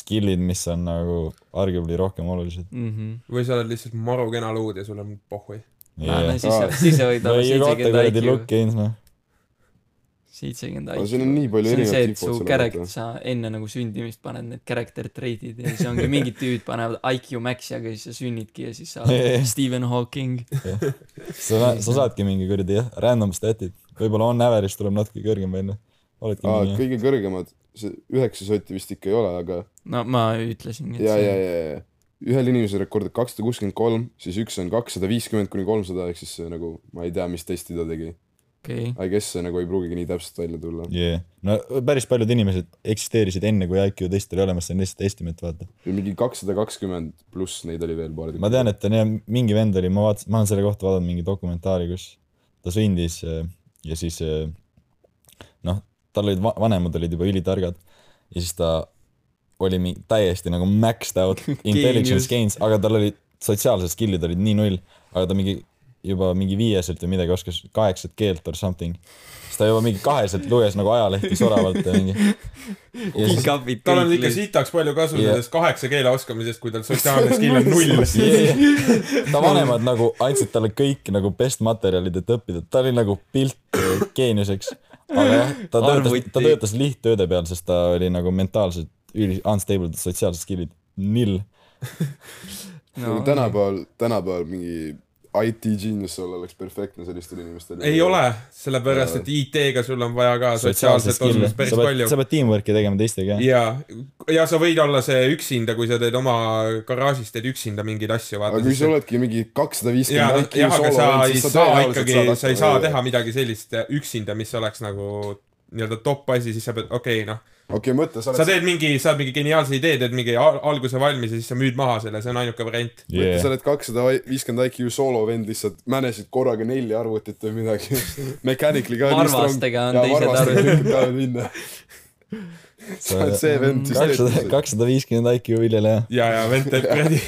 S5: skill'id , mis on nagu arguably rohkem olulised .
S7: mhmh .
S6: või sa oled lihtsalt maru kena luud ja sul on pohhui .
S7: no
S5: või
S7: siis sa , siis sa võid olla
S5: kaota kuradi
S7: seitsekümmend
S5: look
S7: IQ ,
S5: gains noh .
S7: seitsekümmend
S4: aga
S7: IQ
S4: siin on nii palju
S7: see on see ,
S4: erinevat
S7: et su character , sa enne nagu sündimist paned need character trait'id ja siis ongi mingid tüübid panevad IQ max'i , aga siis sa sünnidki ja siis sa oled Stephen Hawking .
S5: sa , sa saadki mingi kuradi jah , random stat'id , võib-olla on average tuleb natuke kõrgem välja . oledki
S4: aa ,
S5: mingi jah ,
S4: kõige kõrgemad , see üheksa sotti vist ikka ei ole , aga
S7: no ma ütlesingi , et
S4: ja , ja ,
S7: see
S4: ja , ja , ühel inimesel rekord on kakssada kuuskümmend kolm , siis üks on kakssada viiskümmend kuni kolmsada , ehk siis see nagu , ma ei tea , mis testi ta tegi .
S7: okei okay. .
S4: I guess see nagu ei pruugigi nii täpselt välja tulla .
S5: yeah. . no päris paljud inimesed eksisteerisid enne , kui IQ test oli olemas , see on lihtsalt estimate , vaata .
S4: mingi kakssada kakskümmend pluss neid oli veel paar tükki .
S5: ma tean , et on jah , mingi vend oli , ma vaatasin , ma olen selle kohta vaadanud mingi dokumentaari , kus ta sündis äh, ja siis äh, noh , tal olid va- vanemad olid juba ülitargad ja siis ta oli mingi täiesti nagu maxed out intelligence gains , aga tal olid sotsiaalsed skill'id olid nii null , aga ta mingi juba mingi viieselt või midagi oskas kaheksat keelt or something . siis ta juba mingi kaheselt luges nagu ajalehti soravalt ja mingi . ja siis
S7: pikapid
S6: tal on ikka
S7: kõik .
S6: sitaks palju kasu
S5: Jah.
S6: sellest kaheksa keele oskamisest , kui tal sotsiaalne skill on null .
S5: yeah. . ta vanemad nagu andsid talle kõik nagu best materjalid , et õppida , ta oli nagu pilt eh, geeniuseks . aga jah , ta töötas
S7: Arvuti. ,
S5: ta töötas lihttööde peal , sest ta oli nagu mentaalselt üli- , unstable sotsiaalsed skill'id , nill .
S4: no, . tänapäeval , tänapäeval mingi IT genius olla oleks perfektne sellistel inimestel .
S6: ei ole , sellepärast et IT-ga sul on vaja ka sotsiaalset osalust päris
S5: sa pead ,
S6: palju
S5: sa pead teamwork'i tegema teistega , jah .
S6: ja , ja sa võid olla see üksinda , kui sa teed oma garaažis teed üksinda mingeid asju , vaata .
S4: aga kui sa oledki mingi kakssada
S6: ja ,
S4: viiskümmend
S6: jah , aga sa ei saa ikkagi , sa ei saa teha . midagi sellist üksinda , mis oleks nagu nii-öelda top asi , siis sa pead , okei okay, , noh ,
S4: okei , mõtle , sa
S6: sa
S4: oled ,
S6: teed mingi , saad mingi geniaalse idee , teed mingi al- alguse valmis ja siis sa müüd maha selle , see on ainuke variant .
S4: sa
S5: Yeah.
S4: oled kakssada viiskümmend IQ soolovend lihtsalt , manage'id korraga nelja arvutit või midagi . Mechanically ka .
S7: Varvastega on teised
S4: arvutid . tahavad minna . sa oled see vend , kes
S5: kakssada ,
S4: teeb .
S5: kakssada viiskümmend IQ viljele , jah .
S6: ja , ja vend teeb kuradi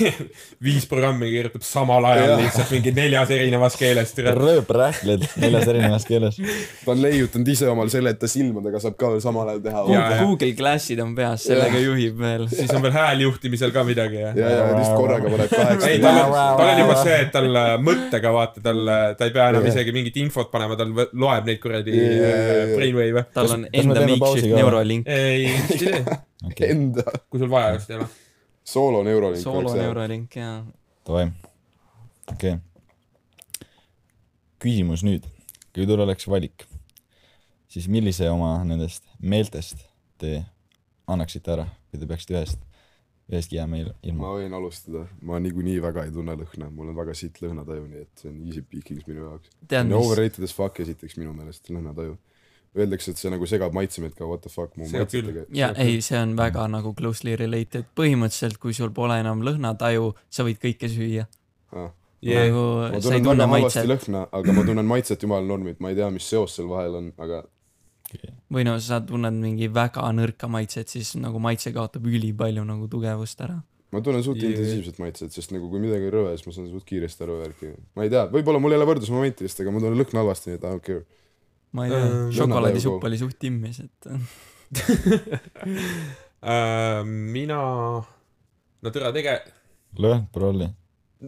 S6: viis programmi kirjutab samal ajal
S4: Jah.
S6: lihtsalt mingi neljas erinevas keeles .
S5: rööprähkled neljas erinevas keeles .
S4: ta on leiutanud ise omal selle , et ta silmadega saab ka veel samal ajal teha .
S6: Jaa, jaa.
S7: Google Classid on peas , sellega juhib veel .
S6: siis on veel hääljuhtimisel ka midagi ja .
S4: ja , ja lihtsalt korraga paneb
S6: ei ,
S4: kaheksa
S6: tal . on , tal on juba see , et tal äh, mõttega vaata , tal , ta ei pea enam isegi mingit infot panema , tal võ- loeb neid kuradi
S4: Jaa, jaa, jaa,
S6: äh,
S4: jaa.
S6: brainwave'e .
S7: tal on
S5: kas me
S7: enda
S5: teeme
S7: makeshift
S5: pausi ka?
S7: neurolink ,
S6: ei , ei tee ,
S4: enda
S6: kui sul vaja just ei ole .
S4: soolo neurolink .
S7: soolo . neurolink ja
S5: Davai , okei okay. . küsimus nüüd , kui teil oleks valik , siis millise oma nendest meeltest te annaksite ära , kui te peaksite ühest , ühestki jääma il- ilma
S4: ma ? võin alustada , ma niikuinii väga ei tunne lõhna , mul on väga siit lõhnataju , nii et see on easy peaking minu jaoks .
S7: tead mis ,
S4: Overrated as fuck esiteks minu meelest lõhnataju . Öeldakse , et see nagu segab maitsemeid ka what the fuck mu
S6: See küll.
S4: maitsetega .
S7: ja ei , see on väga nagu closely related , põhimõtteliselt kui sul pole enam lõhnataju , sa võid kõike süüa
S6: Yeah.
S7: nagu
S4: ma
S7: sa ei
S4: tunnen
S7: tunne
S4: väga halvasti
S7: maitset
S4: lõhna , aga ma tunnen maitset jumala normilt , ma ei tea , mis seos seal vahel on , aga
S7: või no sa tunned mingi väga nõrka maitset , siis nagu maitse kaotab ülipalju nagu tugevust ära .
S4: ma tunnen suht
S6: Jee.
S4: intensiivset maitset , sest nagu kui midagi on rõve , siis ma saan suht kiiresti aru värki . ma ei tea , võib-olla mul ei ole võrdlusmomenti vist , aga ma tunnen lõhna halvasti , nii et I don't care .
S7: ma ei tea
S4: Äh,
S6: Ähm, ,
S7: šokolaadisupp
S4: lõhnataju
S7: oli suht timmis , et
S6: Äh, mina , no tere , tege- ,
S5: lõhn prolli .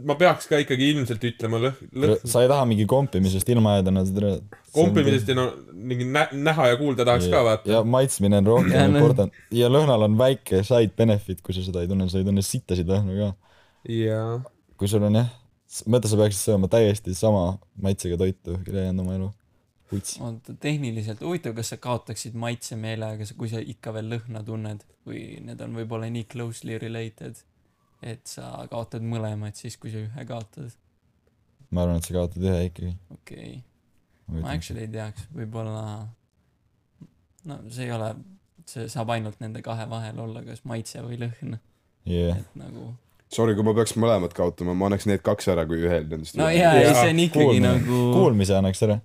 S6: ma peaks ka ikkagi ilmselt ütlema lõh- , lõh- ,
S5: sa ei taha mingi kompimisest ilma jääda , no see tere .
S6: kompimisest ja no mingi nä- , näha ja kuulda tahaks ka vaata .
S5: ja maitsmine on
S7: Ja
S5: rohkem
S7: noh.
S5: important ja lõhnal on väike side benefit , kui sa seda ei tunne , sa ei tunne sittasid lõhnu ka .
S6: jaa .
S5: kui sul on jah , mõtle , sa peaksid sööma täiesti sama maitsega toitu ülejäänud oma elu . kuts .
S7: oota , tehniliselt , huvitav , kas sa kaotaksid maitsemeele , aga sa- kui sa ikka veel lõhna tunned või need on võib-olla nii closely related , et sa kaotad mõlemad siis , kui sa ühe kaotad .
S5: ma arvan , et sa kaotad ühe ikkagi .
S7: okei okay. , ma actually ei teaks , võib-olla no see ei ole , see saab ainult nende kahe vahel olla , kas maitse või lõhn ,
S5: jah ,
S7: et nagu
S4: Sorry , kui ma peaks mõlemad kaotama , ma annaks need kaks ära , kui ühel nendest
S7: no jaa , ei see on ikkagi
S5: kuulmine.
S7: nagu
S5: kuulmise annaks ära .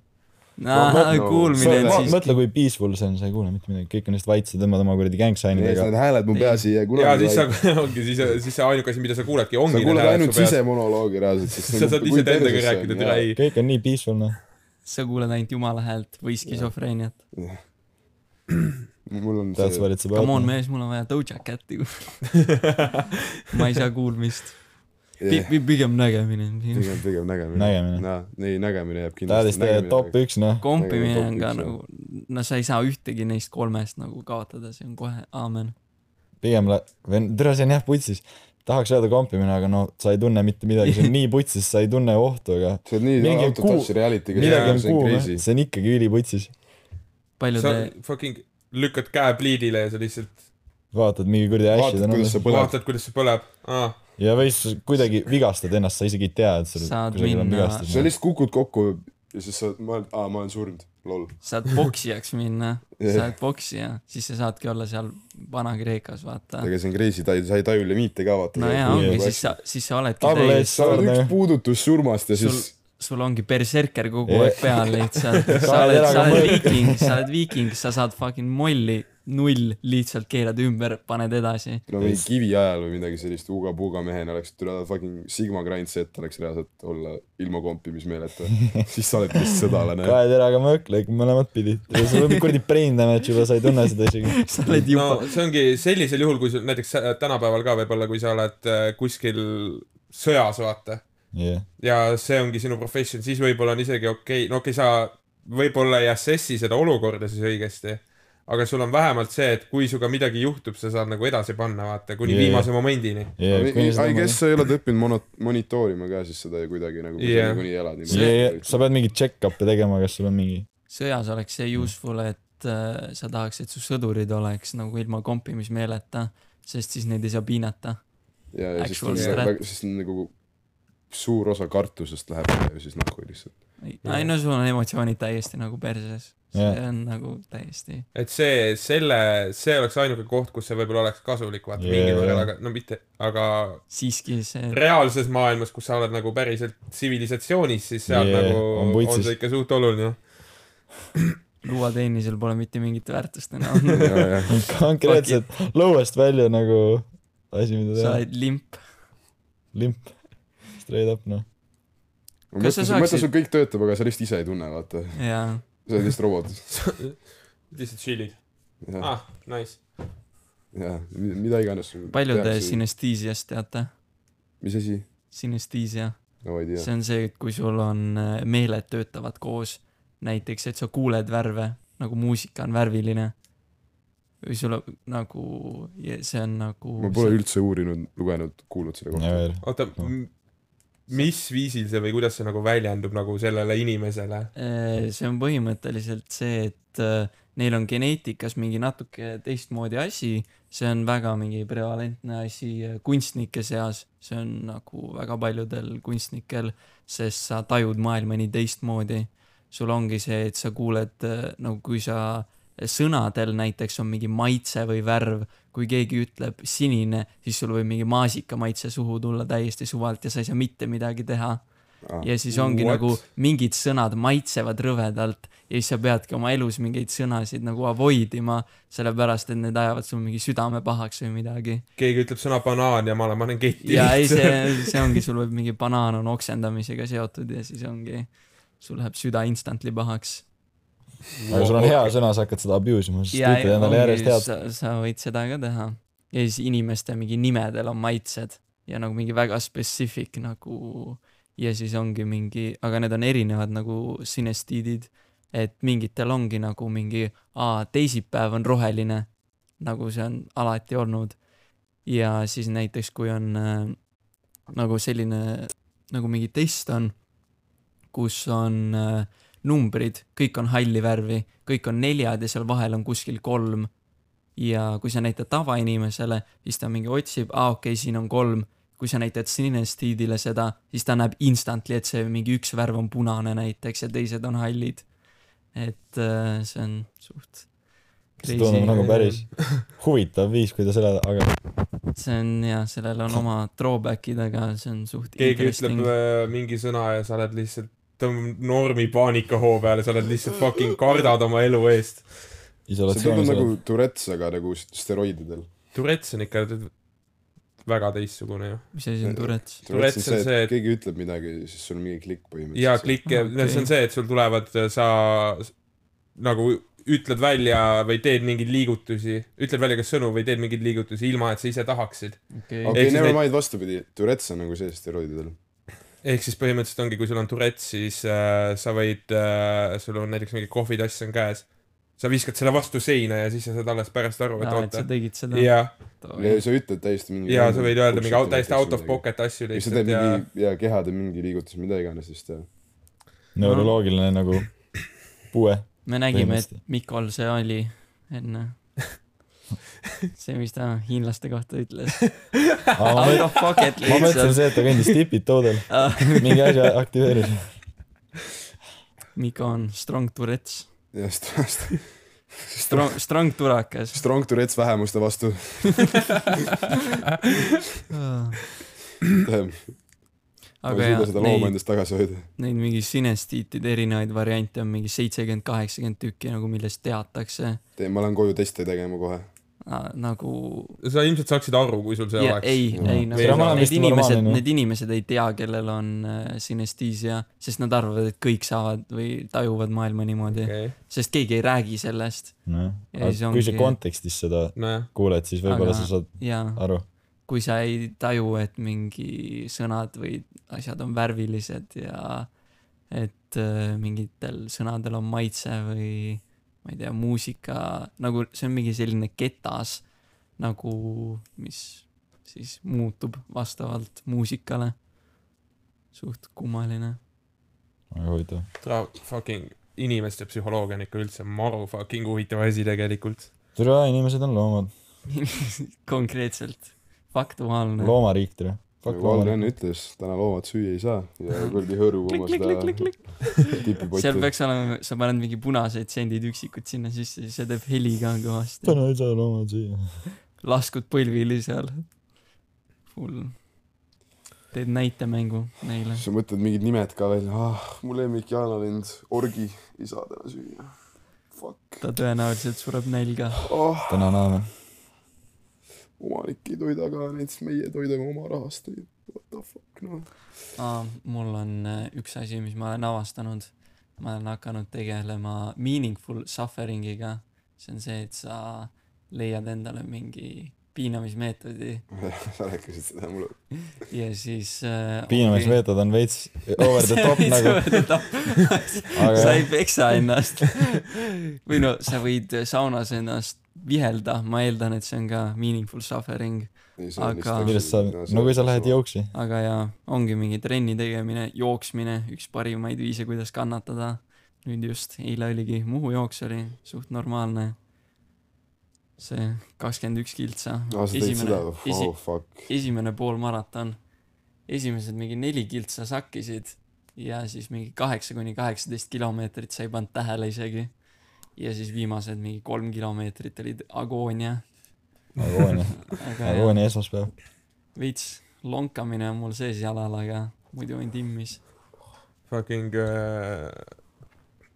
S7: nah,
S4: No,
S7: kuulmine on
S4: ma-
S7: siis
S5: mõtle , kui peaceful see on , sa ei kuule mitte midagi , kõik on lihtsalt vait , sa tõmbad oma kuradi
S4: Need
S5: gängsainidega
S4: need . hääled mu peas ei jää
S6: ja
S4: kunagi
S6: siis sa , ongi , siis , siis see ainuke asi , mida sa kuuledki ,
S4: sa
S6: ongi
S4: kuuled ainult . sisemonoloogi reaalselt , sest nagu
S6: sa saad ise endaga rääkida , tere , ei .
S5: kõik on nii peaceful noh .
S7: sa kuuled ainult jumala häält või skisofreeniat .
S4: mul on
S5: That's
S4: see ,
S5: what it's about
S7: Come on . mees , mul on vaja Doja Cati ma ei saa kuulmist Pi-
S4: jah ,
S7: pi- pigem nägemine
S4: pigem , pigem nägemine .
S5: Nägemine.
S4: nägemine . ei , nägemine jääb
S5: That is
S4: kindlasti .
S5: the top üks noh .
S7: kompimine
S4: Nägemine
S7: on
S4: top
S7: ka
S4: üks,
S7: nagu no sa ei saa ühtegi neist kolmest nagu kaotada see on kohe aamen
S5: pigem lä- , või n- tere , see on jah putsis . tahaks öelda kompimine , aga no sa ei tunne mitte midagi , see on nii putsis , sa ei tunne ohtu , aga
S4: see on nii
S5: Mingi
S4: out of
S5: kuu-
S4: touch reality'ga .
S5: midagi on
S4: see on
S5: kuum ,
S4: crazy .
S5: see on ikkagi üliputsis .
S7: palju
S6: sa
S7: te
S6: fucking lükkad käe pliidile ja sa lihtsalt
S5: vaatad mingi kuradi
S4: vaatad , kuidas
S5: ash'i
S4: sa põled .
S6: vaatad , kuidas see põleb . aa ,
S5: noh. ja või siis kuidagi vigastad ennast , sa isegi ei tea , et sul
S7: Saad
S5: kusagil on
S7: minna-
S4: sa
S5: vigastus .
S4: lihtsalt kukud kokku ja siis sa mõtled , aa , ma olen surnud , lol .
S7: saad poksijaks minna
S4: Jah.
S7: sa oled poksija siis sa saadki olla seal Vana-Kreekas vaata
S4: ega see on crazy , ta ei , sa ei taju limiite ka vaata .
S7: no jaa ongi siis sa siis sa oledki
S5: Tabla
S7: täis
S5: ees
S4: sa oled
S5: Saarne.
S4: üks puudutus surmast ja
S7: sul
S4: siis
S7: sul ongi berserker kogu
S5: Jah.
S7: aeg peal lihtsalt sa
S5: Sa oled
S7: oled sa
S5: jalaga
S7: oled
S5: mõõt-
S7: viiking sa oled viiking sa saad fucking molli null lihtsalt keerad ümber paned edasi
S4: no mingi kivi ajal või midagi sellist uga-puuga mehena oleks tule fucking Sigma Grind set oleks reaalselt olla ilma kompimismeeleta siis sa oled vist sõdalane
S5: kahe teraga mõõk lõikab mõlemat pidi . sul on kuradi brain damage juba , sa ei tunne seda isegi .
S7: sa oled
S6: no
S7: juba
S6: see ongi sellisel juhul , kui sul näiteks äh, tänapäeval ka võib-olla , kui sa oled äh, kuskil sõjas , vaata .
S5: jah ,
S6: ja see ongi sinu profession , siis võib-olla on isegi okei okay. , no okei okay, , sa võib-olla ei assess'i seda olukorda siis õigesti , aga sul on vähemalt see , et kui sinuga midagi juhtub , sa saad nagu edasi panna , vaata , kuni
S5: Jaa.
S6: yeah. viimase momendini .
S5: jah .
S4: I guess sa ei ole õppinud mono- monitoorima ka siis seda ju kuidagi nagu kui
S6: Jah.
S4: sa nagunii elad
S5: Yeah,
S4: niimoodi
S5: sa pead mingeid check-up'e tegema , kas sul on mingi ,
S7: sõjas oleks see useful , et äh, sa tahaks , et su sõdurid oleks nagu ilma kompimismeeleta , sest siis neid ei saa piinata .
S4: ja ja siis
S7: actual
S4: on
S7: strat.
S4: väga- siis on nagu suur osa kartusest läheb ju siis nahku lihtsalt
S7: ei no sul on emotsioonid täiesti nagu perses . see
S5: Jah.
S7: on nagu täiesti ,
S6: et see , selle , see oleks ainuke koht , kus see võib-olla oleks kasulik , vaata yeah.
S5: Jaa.
S6: mingil määral , aga no mitte , aga
S7: siiski see ,
S6: reaalses maailmas , kus sa oled nagu päriselt tsivilisatsioonis , siis seal
S5: Jaa,
S6: yeah. nagu
S5: on
S6: on,
S5: putsis.
S6: on see ikka suht oluline .
S7: luuateenisel pole mitte mingit väärtust enam .
S4: ja ja
S5: konkreetselt lõuest välja nagu asi , mida
S7: sa
S5: teha ,
S7: oled limp .
S5: limp , straight up noh .
S4: ma
S7: Kas
S4: mõtlen , ma
S7: sa saaksid-
S4: mõtlen sul kõik töötab aga sa lihtsalt ise ei tunne vaata
S7: jaa ,
S4: sa oled lihtsalt robot
S6: lihtsalt chill'id .
S4: ja
S6: ah , nice .
S4: ja mi- mida iganes sul
S7: palju te
S4: tehakse.
S7: sinestiisiast teate ?
S4: mis asi
S7: sinestiisia ,
S4: no ma ei tea
S7: see on see , et kui sul on äh, meeled töötavad koos , näiteks , et sa kuuled värve , nagu muusika on värviline või sul on nagu , see on nagu
S4: ma
S7: see-
S4: pole üldse uurinud lugenud kuulnud selle
S5: ja
S4: kohta
S5: veel ,
S6: oota
S5: No. ,
S6: mis viisil see või kuidas see nagu väljendub nagu sellele inimesele ?
S7: Eh, see on põhimõtteliselt see , et äh, neil on geneetikas mingi natuke teistmoodi asi , see on väga mingi prevalentne asi äh, kunstnike seas , see on nagu väga paljudel kunstnikel , sest sa tajud maailma nii teistmoodi . sul ongi see , et sa kuuled äh, nagu , kui sa äh, sõnadel näiteks on mingi maitse või värv , kui keegi ütleb sinine , siis sul võib mingi maasika maitse suhu tulla täiesti suvalt ja sa ei saa mitte midagi teha ja siis ongi
S6: What?
S7: What? nagu mingid sõnad maitsevad rõvedalt ja siis sa peadki oma elus mingeid sõnasid nagu avoid ima , sellepärast et need ajavad sul mingi südame pahaks või midagi .
S6: keegi ütleb sõna banaan ja ma olen , ma olen ketti .
S7: ja ei , see , see ongi , sul võib mingi banaan on oksendamisega seotud ja siis ongi , sul läheb süda instantly pahaks .
S5: aga sul on hea sõna , sa hakkad seda abuse ima , siis
S7: ja
S5: ütled endale järjest head .
S7: sa, sa võid seda ka teha ja siis inimeste mingi nimedel on maitsed ja nagu mingi väga specific nagu ja siis ongi mingi , aga need on erinevad nagu sinestiidid , et mingitel ongi nagu mingi , aa , teisipäev on roheline , nagu see on alati olnud . ja siis näiteks , kui on äh, nagu selline , nagu mingi test on , kus on äh, numbrid , kõik on halli värvi , kõik on neljad ja seal vahel on kuskil kolm . ja kui sa näitad tavainimesele , siis ta mingi otsib , aa okei okay, , siin on kolm . kui sa näitad sinestiidile seda , siis ta näeb instantly , et see mingi üks värv on punane näiteks ja teised on hallid . et äh, see on suht
S5: see tundub nagu päris huvitav viis , kuidas elada , aga
S7: see on jah , sellel on oma drawback'id , aga see on suht
S6: keegi ütleb äh, mingi sõna ja sa oled lihtsalt , tõmbab normi paanikahoo peale , sa oled lihtsalt fucking kardad oma elu eest .
S4: see tundub
S5: isolatsioonis
S4: nagu
S5: oled .
S4: Tourette's , aga nagu steroididel .
S6: Tourette's on ikka väga teistsugune ju .
S7: mis asi on Tourette's ?
S6: Tourette's
S4: Tourette's
S6: on
S4: on see ,
S6: see, et-
S4: et keegi ütleb midagi , siis sul on mingi klikk
S6: ja
S4: põhimõtteliselt .
S6: klikk okay. , no see
S7: Okei.
S6: on see , et sul tulevad , sa s- nagu ütled välja või teed mingeid liigutusi , ütled välja kas sõnu või teed mingeid liigutusi ilma , et sa ise tahaksid .
S7: okei
S4: okei
S6: Ehk
S4: okay, ,
S6: siis
S4: never
S6: neid-
S4: mind , vastupidi , Tourette's on nagu see steroididel .
S6: ehk siis põhimõtteliselt ongi , kui sul on Tourette's , siis äh, sa võid äh, , sul on näiteks mingi kohvitass on käes , sa viskad selle vastu seina ja siis sa saad alles pärast aru ,
S7: aa , et
S6: et
S7: sa noh.
S6: oota .
S7: tegid seda ?
S6: ja ,
S4: sa ütled täiesti mingi .
S6: ja sa võid öelda mingi out- täiesti out of . pocket asju
S4: või sa
S6: lihtsalt
S4: teed
S6: ja
S4: mingi ja keha teeb mingi liigutus , mida iganes , siis ta .
S5: neuroloogiline nagu puue .
S7: me nägime , et
S5: Põhimõtteliselt.
S7: Mikol see oli enne . see , mis ta hiinlaste kohta ütles .
S5: ma
S7: Out of pocket
S5: ma mõtlesin
S7: lihtsalt .
S5: see , et ta kõndis tipid toodel , mingi asja aktiveeris .
S7: Miko on strong Tourette's .
S4: jah ,
S7: Strong , strong turakas .
S4: Strong Tourette's vähemuste vastu . ma
S7: aga
S4: ei
S7: jah
S4: suuda , seda looma
S7: neid ,
S4: endast tagasi hoida .
S7: neid mingi sinestiitide erinevaid variante on mingi seitsekümmend , kaheksakümmend tükki nagu , millest teatakse
S4: ma lähen koju teste tegema kohe .
S7: Ah, nagu .
S6: sa ilmselt saaksid aru , kui sul see
S7: Ja,
S6: oleks .
S7: ei , ei
S5: See on
S7: nagu need
S5: vist
S7: inimesed ,
S5: normaalne, noh.
S7: need inimesed ei tea , kellel on äh, sinestiisia , sest nad arvavad , et kõik saavad või tajuvad maailma niimoodi .
S6: okei ,
S7: sest keegi ei räägi sellest
S5: nojah ,
S7: Ja siis
S5: Noh. aga kui sa
S7: ongi-
S5: kontekstis seda
S6: nojah .
S5: kuuled , siis võib-olla
S7: Aga-
S5: sa saad
S7: ja
S5: aru .
S7: kui sa ei taju , et mingi sõnad või asjad on värvilised ja et äh, mingitel sõnadel on maitse või ma ei tea , muusika nagu see on mingi selline ketas nagu , mis siis muutub vastavalt muusikale . suht kummaline .
S5: väga huvitav .
S6: tra- , fucking inimeste psühholoogia on ikka üldse maru fucking huvitav asi tegelikult .
S5: türa , inimesed on loomad ,
S7: konkreetselt faktuaalne .
S5: loomariik türa .
S4: nagu Valren ütles , täna loomad süüa ei saa ja kuradi hõõrub oma seda
S7: seal
S4: tipipotti .
S7: peaks olema , sa paned mingi punaseid sendid üksikud sinna sisse , siis see teeb heli ka kõvasti .
S5: täna ei saa loomad süüa .
S7: laskud põlvili seal . hull . teed näitemängu neile .
S4: sa mõtled mingid nimed ka välja , ah , mu lemmik jaanalind , orgi , ei saa täna süüa . Fuck ,
S7: ta tõenäoliselt sureb nälga .
S4: ah ,
S5: täna näeme .
S4: omanik ei toida ka neid , meie toidame oma rahast neid . What the fuck , noh .
S7: aa , mul on äh, üks asi , mis ma olen avastanud . ma olen hakanud tegelema meaningful suffering'iga . see on see , et sa leiad endale mingi piinamismeetodi
S4: sa rääkisid seda mulle .
S7: ja siis äh,
S5: piinamismeetod on veits over the top nagu , Aga
S7: sa
S5: jah.
S7: ei peksa ennast või no sa võid äh, saunas ennast vihelda , ma eeldan , et see on ka meaningful suffering , Aga-
S5: millest sa , no kui sa lähed . jooksi .
S7: aga jaa , ongi mingi trenni tegemine , jooksmine , üks parimaid viise , kuidas kannatada . nüüd just eile oligi Muhu jooks oli suht normaalne . see kakskümmend üks kiltsa .
S4: aa , Ah, sa teed seda , oh fuck .
S7: esimene poolmaraton , esimesed mingi neli kiltsa sakkisid ja siis mingi kaheksa kuni kaheksateist kilomeetrit sa ei pannud tähele isegi . ja siis viimased mingi kolm kilomeetrit olid agoonia ,
S5: agoonia ,
S7: aga jah,
S5: agoonia Nagu esmaspäev .
S7: veits lonkamine on mul sees jalal , aga muidu on timmis .
S6: Fucking äh,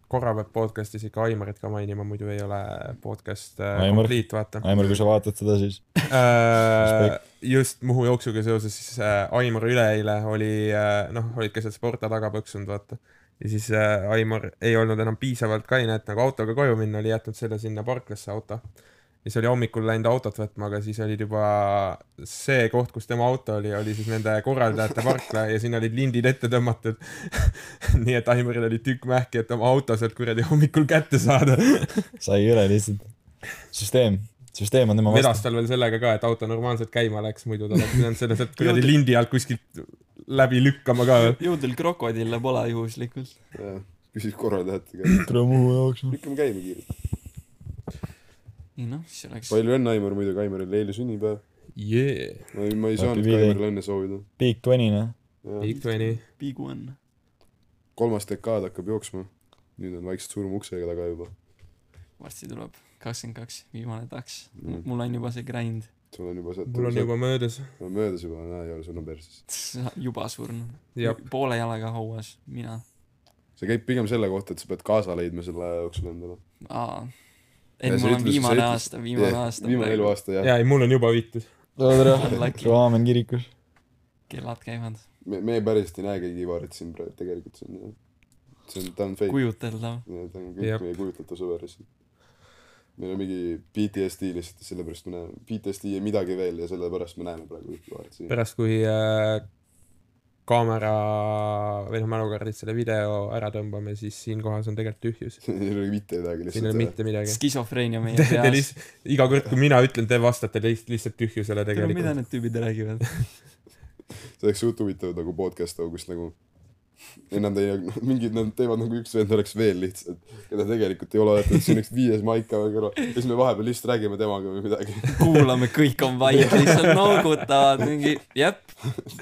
S6: korra peab podcast'is ikka Aimarit ka mainima , muidu ei ole podcast äh,
S5: Aimar.
S6: kompliit , vaata
S5: Aimar , kui sa vaatad seda , siis
S6: äh, . just Muhu jooksuga seoses siis äh, Aimar üleeile oli äh, , noh , olid keset sporta taga põksunud , vaata . ja siis äh, Aimar ei olnud enam piisavalt kaine , et nagu autoga koju minna , oli jätnud selle sinna parklasse auto . ja siis oli hommikul läinud autot võtma , aga siis olid juba see koht , kus tema auto oli , oli siis nende korraldajate parkla ja sinna olid lindid ette tõmmatud . nii et Aimaril oli tükk mähki , et oma auto sealt kuradi hommikul kätte saada .
S5: sai üle lihtsalt . süsteem , süsteem on tema vastu .
S6: vedas tal veel sellega ka , et auto normaalselt käima läks , muidu ta oleks pidanud selle sealt kuradi lindi alt kuskilt läbi lükkama ka veel .
S7: jõudil krokodille pole juhuslikult .
S4: küsis korraldajate käest ,
S5: tere Muhu jaoks .
S4: lükkame käima kiirelt .
S7: ei noh , siis oleks .
S4: palju õnne , Aimar , muidugi Aimaril eile sünnipäev .
S6: Yeah.
S4: ma ei , ma ei
S5: Happy
S4: saanud ka
S5: birthday.
S4: Aimarile õnne soovida .
S5: Big Twenty noh .
S6: Big Twenty .
S7: Big One .
S4: kolmas dekaad hakkab jooksma . nüüd on vaikselt surm ukse taga juba .
S7: varsti tuleb kakskümmend kaks , viimane taks
S4: Mm.
S7: mm. . mul on juba see grind .
S4: sul on juba see .
S6: mul on juba möödas .
S4: möödas juba , näe , ei ole , sul on perses .
S7: juba surnud .
S6: jah ,
S7: poole jalaga hauas , mina .
S4: see käib pigem selle kohta , et sa pead kaasa leidma selle aja jooksul endale .
S7: aa . ei , mul on viimane aasta , viimane aasta .
S4: viimane eluaasta , jah .
S6: ja ei , mul on juba viitus .
S7: Lucky.
S5: Raamen kirikus .
S7: kellad käivad ,
S4: me , me päriselt ei näe keegi Ivarit siin praegu , tegelikult see on , see on , ta on fake .
S7: kujuteldav .
S4: ta on kõik
S6: Jep.
S4: meie kujutatav sõber lihtsalt . meil on mingi PTSD lihtsalt , sellepärast me näeme , PTSD ja midagi veel ja sellepärast me näeme praegu Ivarit siin .
S6: pärast , kui äh, kaamera või noh , mälukaardid selle video ära tõmbame , siis siinkohas on tegelikult tühjus .
S4: siin ei ole mitte midagi
S6: siin ei ole
S4: lihtsalt .
S6: mitte midagi .
S7: skisofreenia meie
S6: Te, te
S7: peas .
S6: lihtsalt , iga kord , kui mina ütlen , te vastate lihtsalt , lihtsalt tühjusele
S7: kuule , mida
S6: tegelikult .
S7: need tüübid räägivad ?
S4: see oleks suht huvitav nagu podcast nagu , kus nagu enam teie , mingid nad teevad nagu üks vend oleks veel lihtsalt , keda tegelikult ei ole , et siin üks viies maika või kõrval ja siis me vahepeal lihtsalt räägime temaga või midagi .
S7: kuulame , kõik on vait , lihtsalt noogutavad mingi , jep ,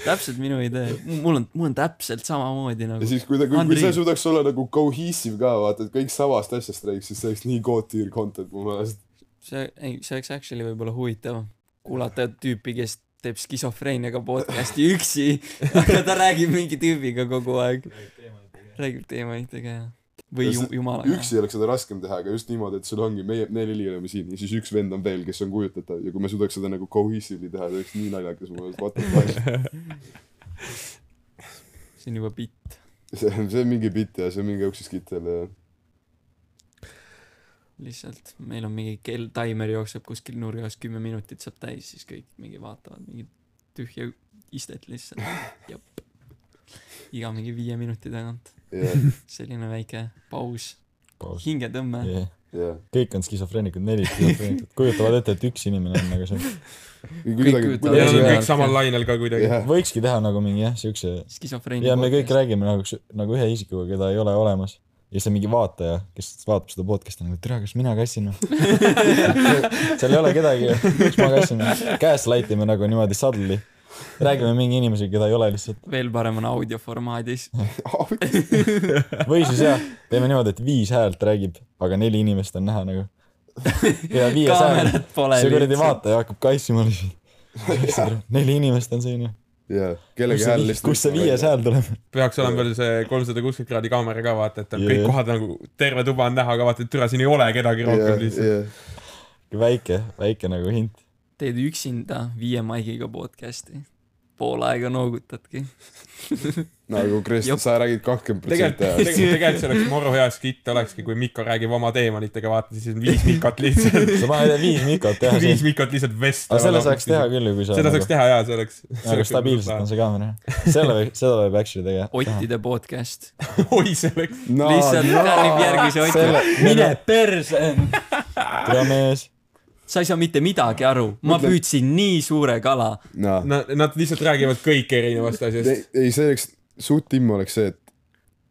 S7: täpselt minu idee . mul on , mul on täpselt samamoodi
S4: ja
S7: nagu .
S4: siis , kui ta , kui kui see
S7: Unreal.
S4: suudaks olla nagu cohesive ka , vaata , et kõik samast asjast räägiks , siis see oleks nii god tier content mu meelest .
S7: see , ei , see oleks actually võib-olla huvitav kuulata tüüpi , kes teeb skisofreeniaga podcast'i üksi , aga ta räägib mingi tüübiga kogu aeg . räägib teemadega ja , või ju- jumalaga .
S4: üksi oleks seda raskem teha , aga just niimoodi , et sul ongi , meie , me neli oleme siin ja siis üks vend on veel , kes on kujutatav ja kui me suudaks seda nagu cohesively teha , see oleks nii naljakas mu meelest , what the fuck .
S7: see on juba bitt .
S4: see on , see on mingi bitt ja see on mingi uksis kittel ja
S7: lihtsalt meil on mingi kell , taimer jookseb kuskil nurgas , kümme minutit saab täis , siis kõik mingi vaatavad mingit tühja istet lihtsalt . jep . iga mingi viie minuti tagant .
S4: ja ,
S7: selline väike paus , hingetõmme yeah. .
S5: Yeah.
S4: ja .
S5: kõik on skisofreenikud , neli skisofreenikud , kujutavad ette , et üks inimene on nagu see .
S4: kuidagi ,
S7: kujutavad
S6: ja
S7: Jaa,
S6: nad on
S4: kuidagi .
S6: kõik samal lainel ka kuidagi .
S4: jah ,
S5: võikski teha nagu mingi jah , siukse
S7: skisofreenia .
S5: ja me kõik räägime nagu , nagu ühe isikuga , keda ei ole olemas . ja siis on mingi vaataja , kes vaatab seda podcast'i nagu , tere , kas mina kassin või ? seal ei ole kedagi , kas ma kassin või ? gaslight ime nagu niimoodi subtly . räägime mingi inimesega , keda ei ole lihtsalt .
S7: veel parem on audioformaadis .
S5: või siis jah , teeme niimoodi , et viis häält räägib , aga neli inimest on näha nagu . ja viies hääl ,
S7: kaamerat pole
S5: see kuradi
S7: lihtsalt .
S5: vaataja hakkab kassima lihtsalt . neli inimest on siin ju .
S4: ja kellegi hääl lihtsalt .
S5: kus see
S6: nagu
S5: viies ? hääl tuleb ?
S6: peaks
S5: Äh.
S6: olema veel see kolmsada kuuskümmend kraadi kaamera ka vaata , et tal
S5: Jaa.
S6: kõik kohad nagu , terve tuba on näha , aga vaata , et türa , siin ei ole kedagi
S4: ja
S6: rohkem , lihtsalt .
S4: ja ,
S5: väike , väike nagu hint .
S7: teed üksinda viie maigiga podcast'i . pool aega noogutadki .
S4: nagu Kristjan ,
S7: Jep.
S4: sa räägid kakskümmend
S6: tegelikult ,
S4: protsenti ajast .
S6: tegelikult tegelikult see oleks maru hea skitt olekski , kui Mikko räägib oma teemantidega , vaata siis on viis Mikot lihtsalt .
S5: sa paned viis mikot teha
S6: viis
S5: siin .
S6: Mikot lihtsalt vest .
S5: aga selle saaks teha küll ju , kui sa .
S6: seda saaks teha jaa , see oleks .
S5: aga stabiilselt on see kaamera . selle võib , seda võib actually tegema .
S7: Ottide podcast .
S6: oi , see oleks ,
S4: no
S7: lihtsalt kärib järgmise Otti .
S5: mine persen . tule mees .
S7: sa ei saa mitte midagi aru , ma
S4: Mõtle-
S7: püüdsin nii suure kala .
S4: no.
S6: nad , nad lihtsalt räägivad kõik erinevast
S4: ei
S6: asjast .,
S4: ei see oleks , suht timm oleks see , et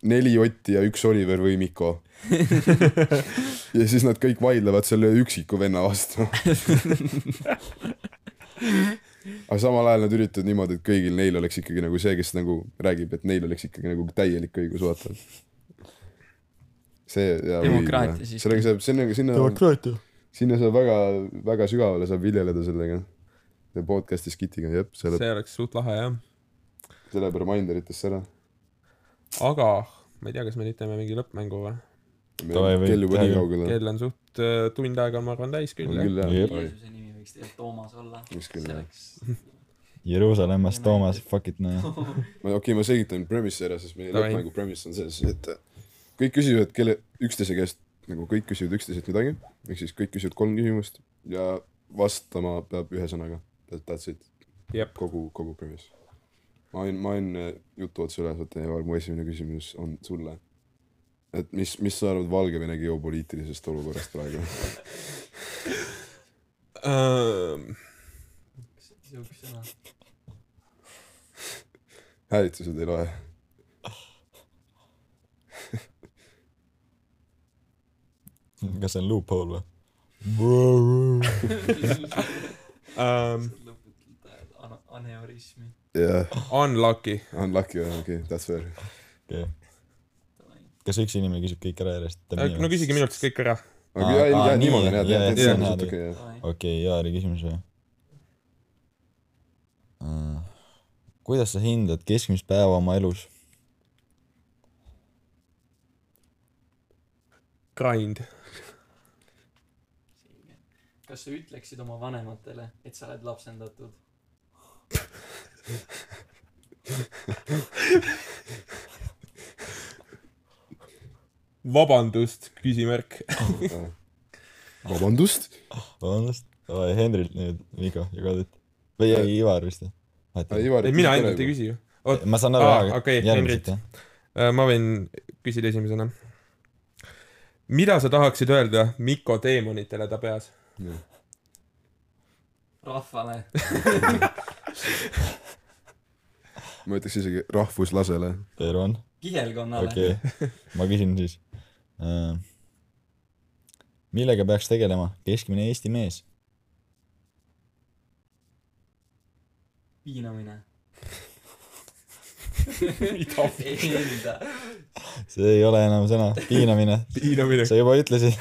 S4: neli Otti ja üks Oliver või Mikko . ja siis nad kõik vaidlevad selle üksiku venna vastu . aga samal ajal nad üritavad niimoodi , et kõigil neil oleks ikkagi nagu see , kes nagu räägib , et neil oleks ikkagi nagu täielik õigus vaata . see ja .
S7: Demokraatia siiski.
S4: sellega saab , sinna , sinna ,
S5: demokraatia .
S4: sinna saab väga , väga sügavale saab viljeleda sellega . podcast'i skitiga , jep , see läheb ,
S6: see oleks suht lahe jah .
S4: see läheb reminderitesse ära
S6: aga ma ei tea , kas me nüüd teeme mingi lõppmängu või ?
S4: Me
S5: Davai,
S4: oleme
S5: võib
S4: kell juba nii
S5: teha.
S4: kaugel on .
S6: kell on suht äh, tund aega , ma arvan , täis küll
S4: on
S6: jah .
S4: küll jah .
S5: Jep.
S7: Jeesuse nimi võiks tegelikult Toomas olla .
S4: Võiks küll, jah.
S7: see oleks
S5: Jeruusalemmast Toomas , fuck it noh .
S4: ma , okei okay, , ma selgitan premise ära , sest meie
S6: Davai.
S4: lõppmängu premise on selles , et äh, kõik küsivad kelle , üksteise käest , nagu kõik küsivad üksteiselt midagi , ehk siis kõik küsivad kolm küsimust ja vastama peab ühe sõnaga . That's it .
S6: Jep.
S4: kogu , kogu premise . ma olin , ma olin äh, jutu otsa üles , et Aivar , mu esimene küsimus on sulle . et mis , mis sa arvad Valgevene geopoliitilisest olukorrast praegu ?
S6: Äh,
S4: häälitsused ei loe .
S5: kas see on loophole või ?
S6: um,
S7: aneurismi .
S4: jah ,
S6: Unlucky .
S4: unlucky , okei , that's fair .
S5: kas üks inimene küsib kõik ära järjest ?
S6: Äh, no küsige minult siis kõik ära .
S4: aga
S5: Aa,
S4: jah ,
S5: aa,
S4: jah ,
S5: nii,
S4: niimoodi on
S5: jah, jah,
S4: jah ,
S5: see
S4: jah ,
S5: on hea
S4: okei , jah .
S5: okei , Jaari küsimus või ? Äh, kuidas sa hindad keskmist päeva oma elus ?
S6: Grind .
S7: kas sa ütleksid oma vanematele , et sa oled lapsendatud ?
S6: vabandust , küsimärk .
S4: vabandust ?
S5: vabandust , Henrilt nüüd Vigo ja Kadrit . või
S6: Äh,
S5: ei , Ivar vist või ?
S6: ei , mina ainult ei . küsi ju .
S5: ma saan aru
S6: äh, Aa,
S5: aga
S6: okei, Henrilt.
S5: järgmiselt jah .
S6: ma võin küsida esimesena . mida sa tahaksid öelda Mikko teemonitele ta peas ?
S7: rahvale .
S4: ma ütleks isegi rahvuslasele .
S5: Teil on ?
S7: kihelkonnale okay. .
S5: okei , ma küsin siis . millega peaks tegelema keskmine Eesti mees ?
S7: piinamine .
S6: mida ?
S7: Enda .
S5: see ei ole enam sõna , piinamine ,
S6: piinamine .
S5: sa juba ütlesid .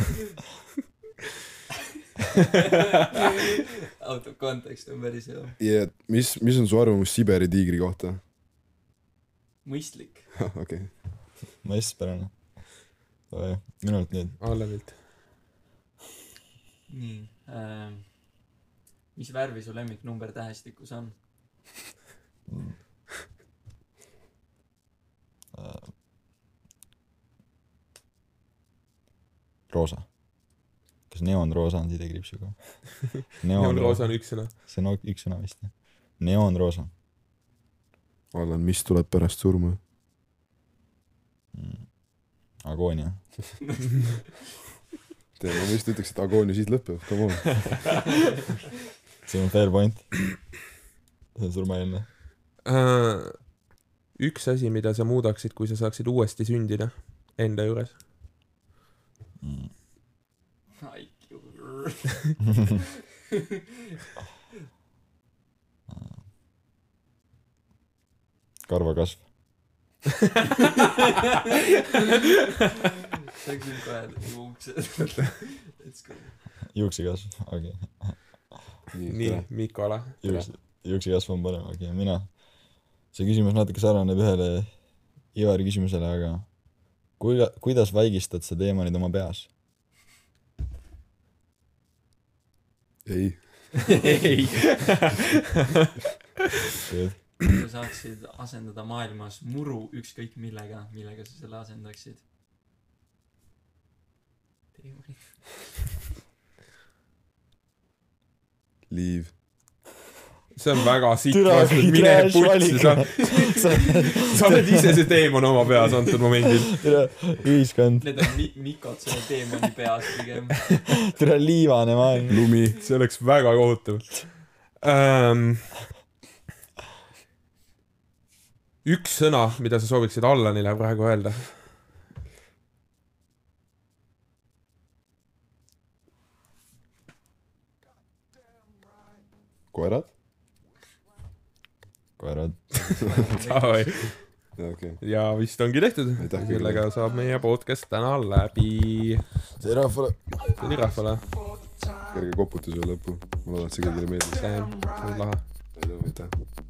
S7: out of context on päris hea .
S4: ja mis , mis on su arvamus Siberi tiigri kohta ?
S7: mõistlik .
S4: okei ,
S5: mõistuspärane . minult nüüd .
S6: Allevilt .
S7: nii ähm, . mis värvi su lemmiknumber tähestikus on ?
S5: roosa . kas neoonroosa on sidekriipsuga ?
S6: neonroosa on üks sõna .
S5: see on o- üks sõna vist jah . neoonroosa .
S4: Allan , mis tuleb pärast surma ?
S5: Mm. agoonia .
S4: tead , ma vist ütleks , et agoonia siis lõpeb , come on .
S5: see on fair point . see on surmaeelne .
S6: Äh, üks asi , mida sa muudaksid , kui sa saaksid uuesti sündida enda juures .
S5: Mm. karvakasv .
S7: see on küll kohe nagu uksed . Let's go .
S5: juuksekasv , okei okay. .
S6: nii , Mikko ala .
S5: juukse , juuksekasv on parem , okei okay. , mina . see küsimus natuke sarnaneb ühele Ivari küsimusele , aga kui , kuidas vaigistad sa teemonid oma peas ?
S4: ei ,
S6: ei .
S7: kui sa saaksid asendada maailmas muru ükskõik millega , millega sa selle asendaksid ?
S4: leave .
S6: see on väga sitt
S5: Türa,
S6: vastus , mine
S5: trash
S6: putsi , sa , sa oled ise see teemon oma peas antud momendil .
S5: ühiskond ,
S7: Need on mi- , mikod selle teemani peas pigem .
S5: tere liivane maailm .
S6: lumi , see oleks väga kohutav um, . üks sõna , mida sa sooviksid Allanile praegu öelda ,
S4: koerad ?
S5: koerad ,
S4: okei ,
S6: ja vist ongi tehtud ,
S4: Aitäh,
S6: sellega saab meie podcast täna läbi .
S5: see rahvale .
S6: see oli rahvale ,
S4: kerge koputus veel lõppu . ma loodan , et see kõigile meeldis .
S6: see on lahe .
S4: aitäh .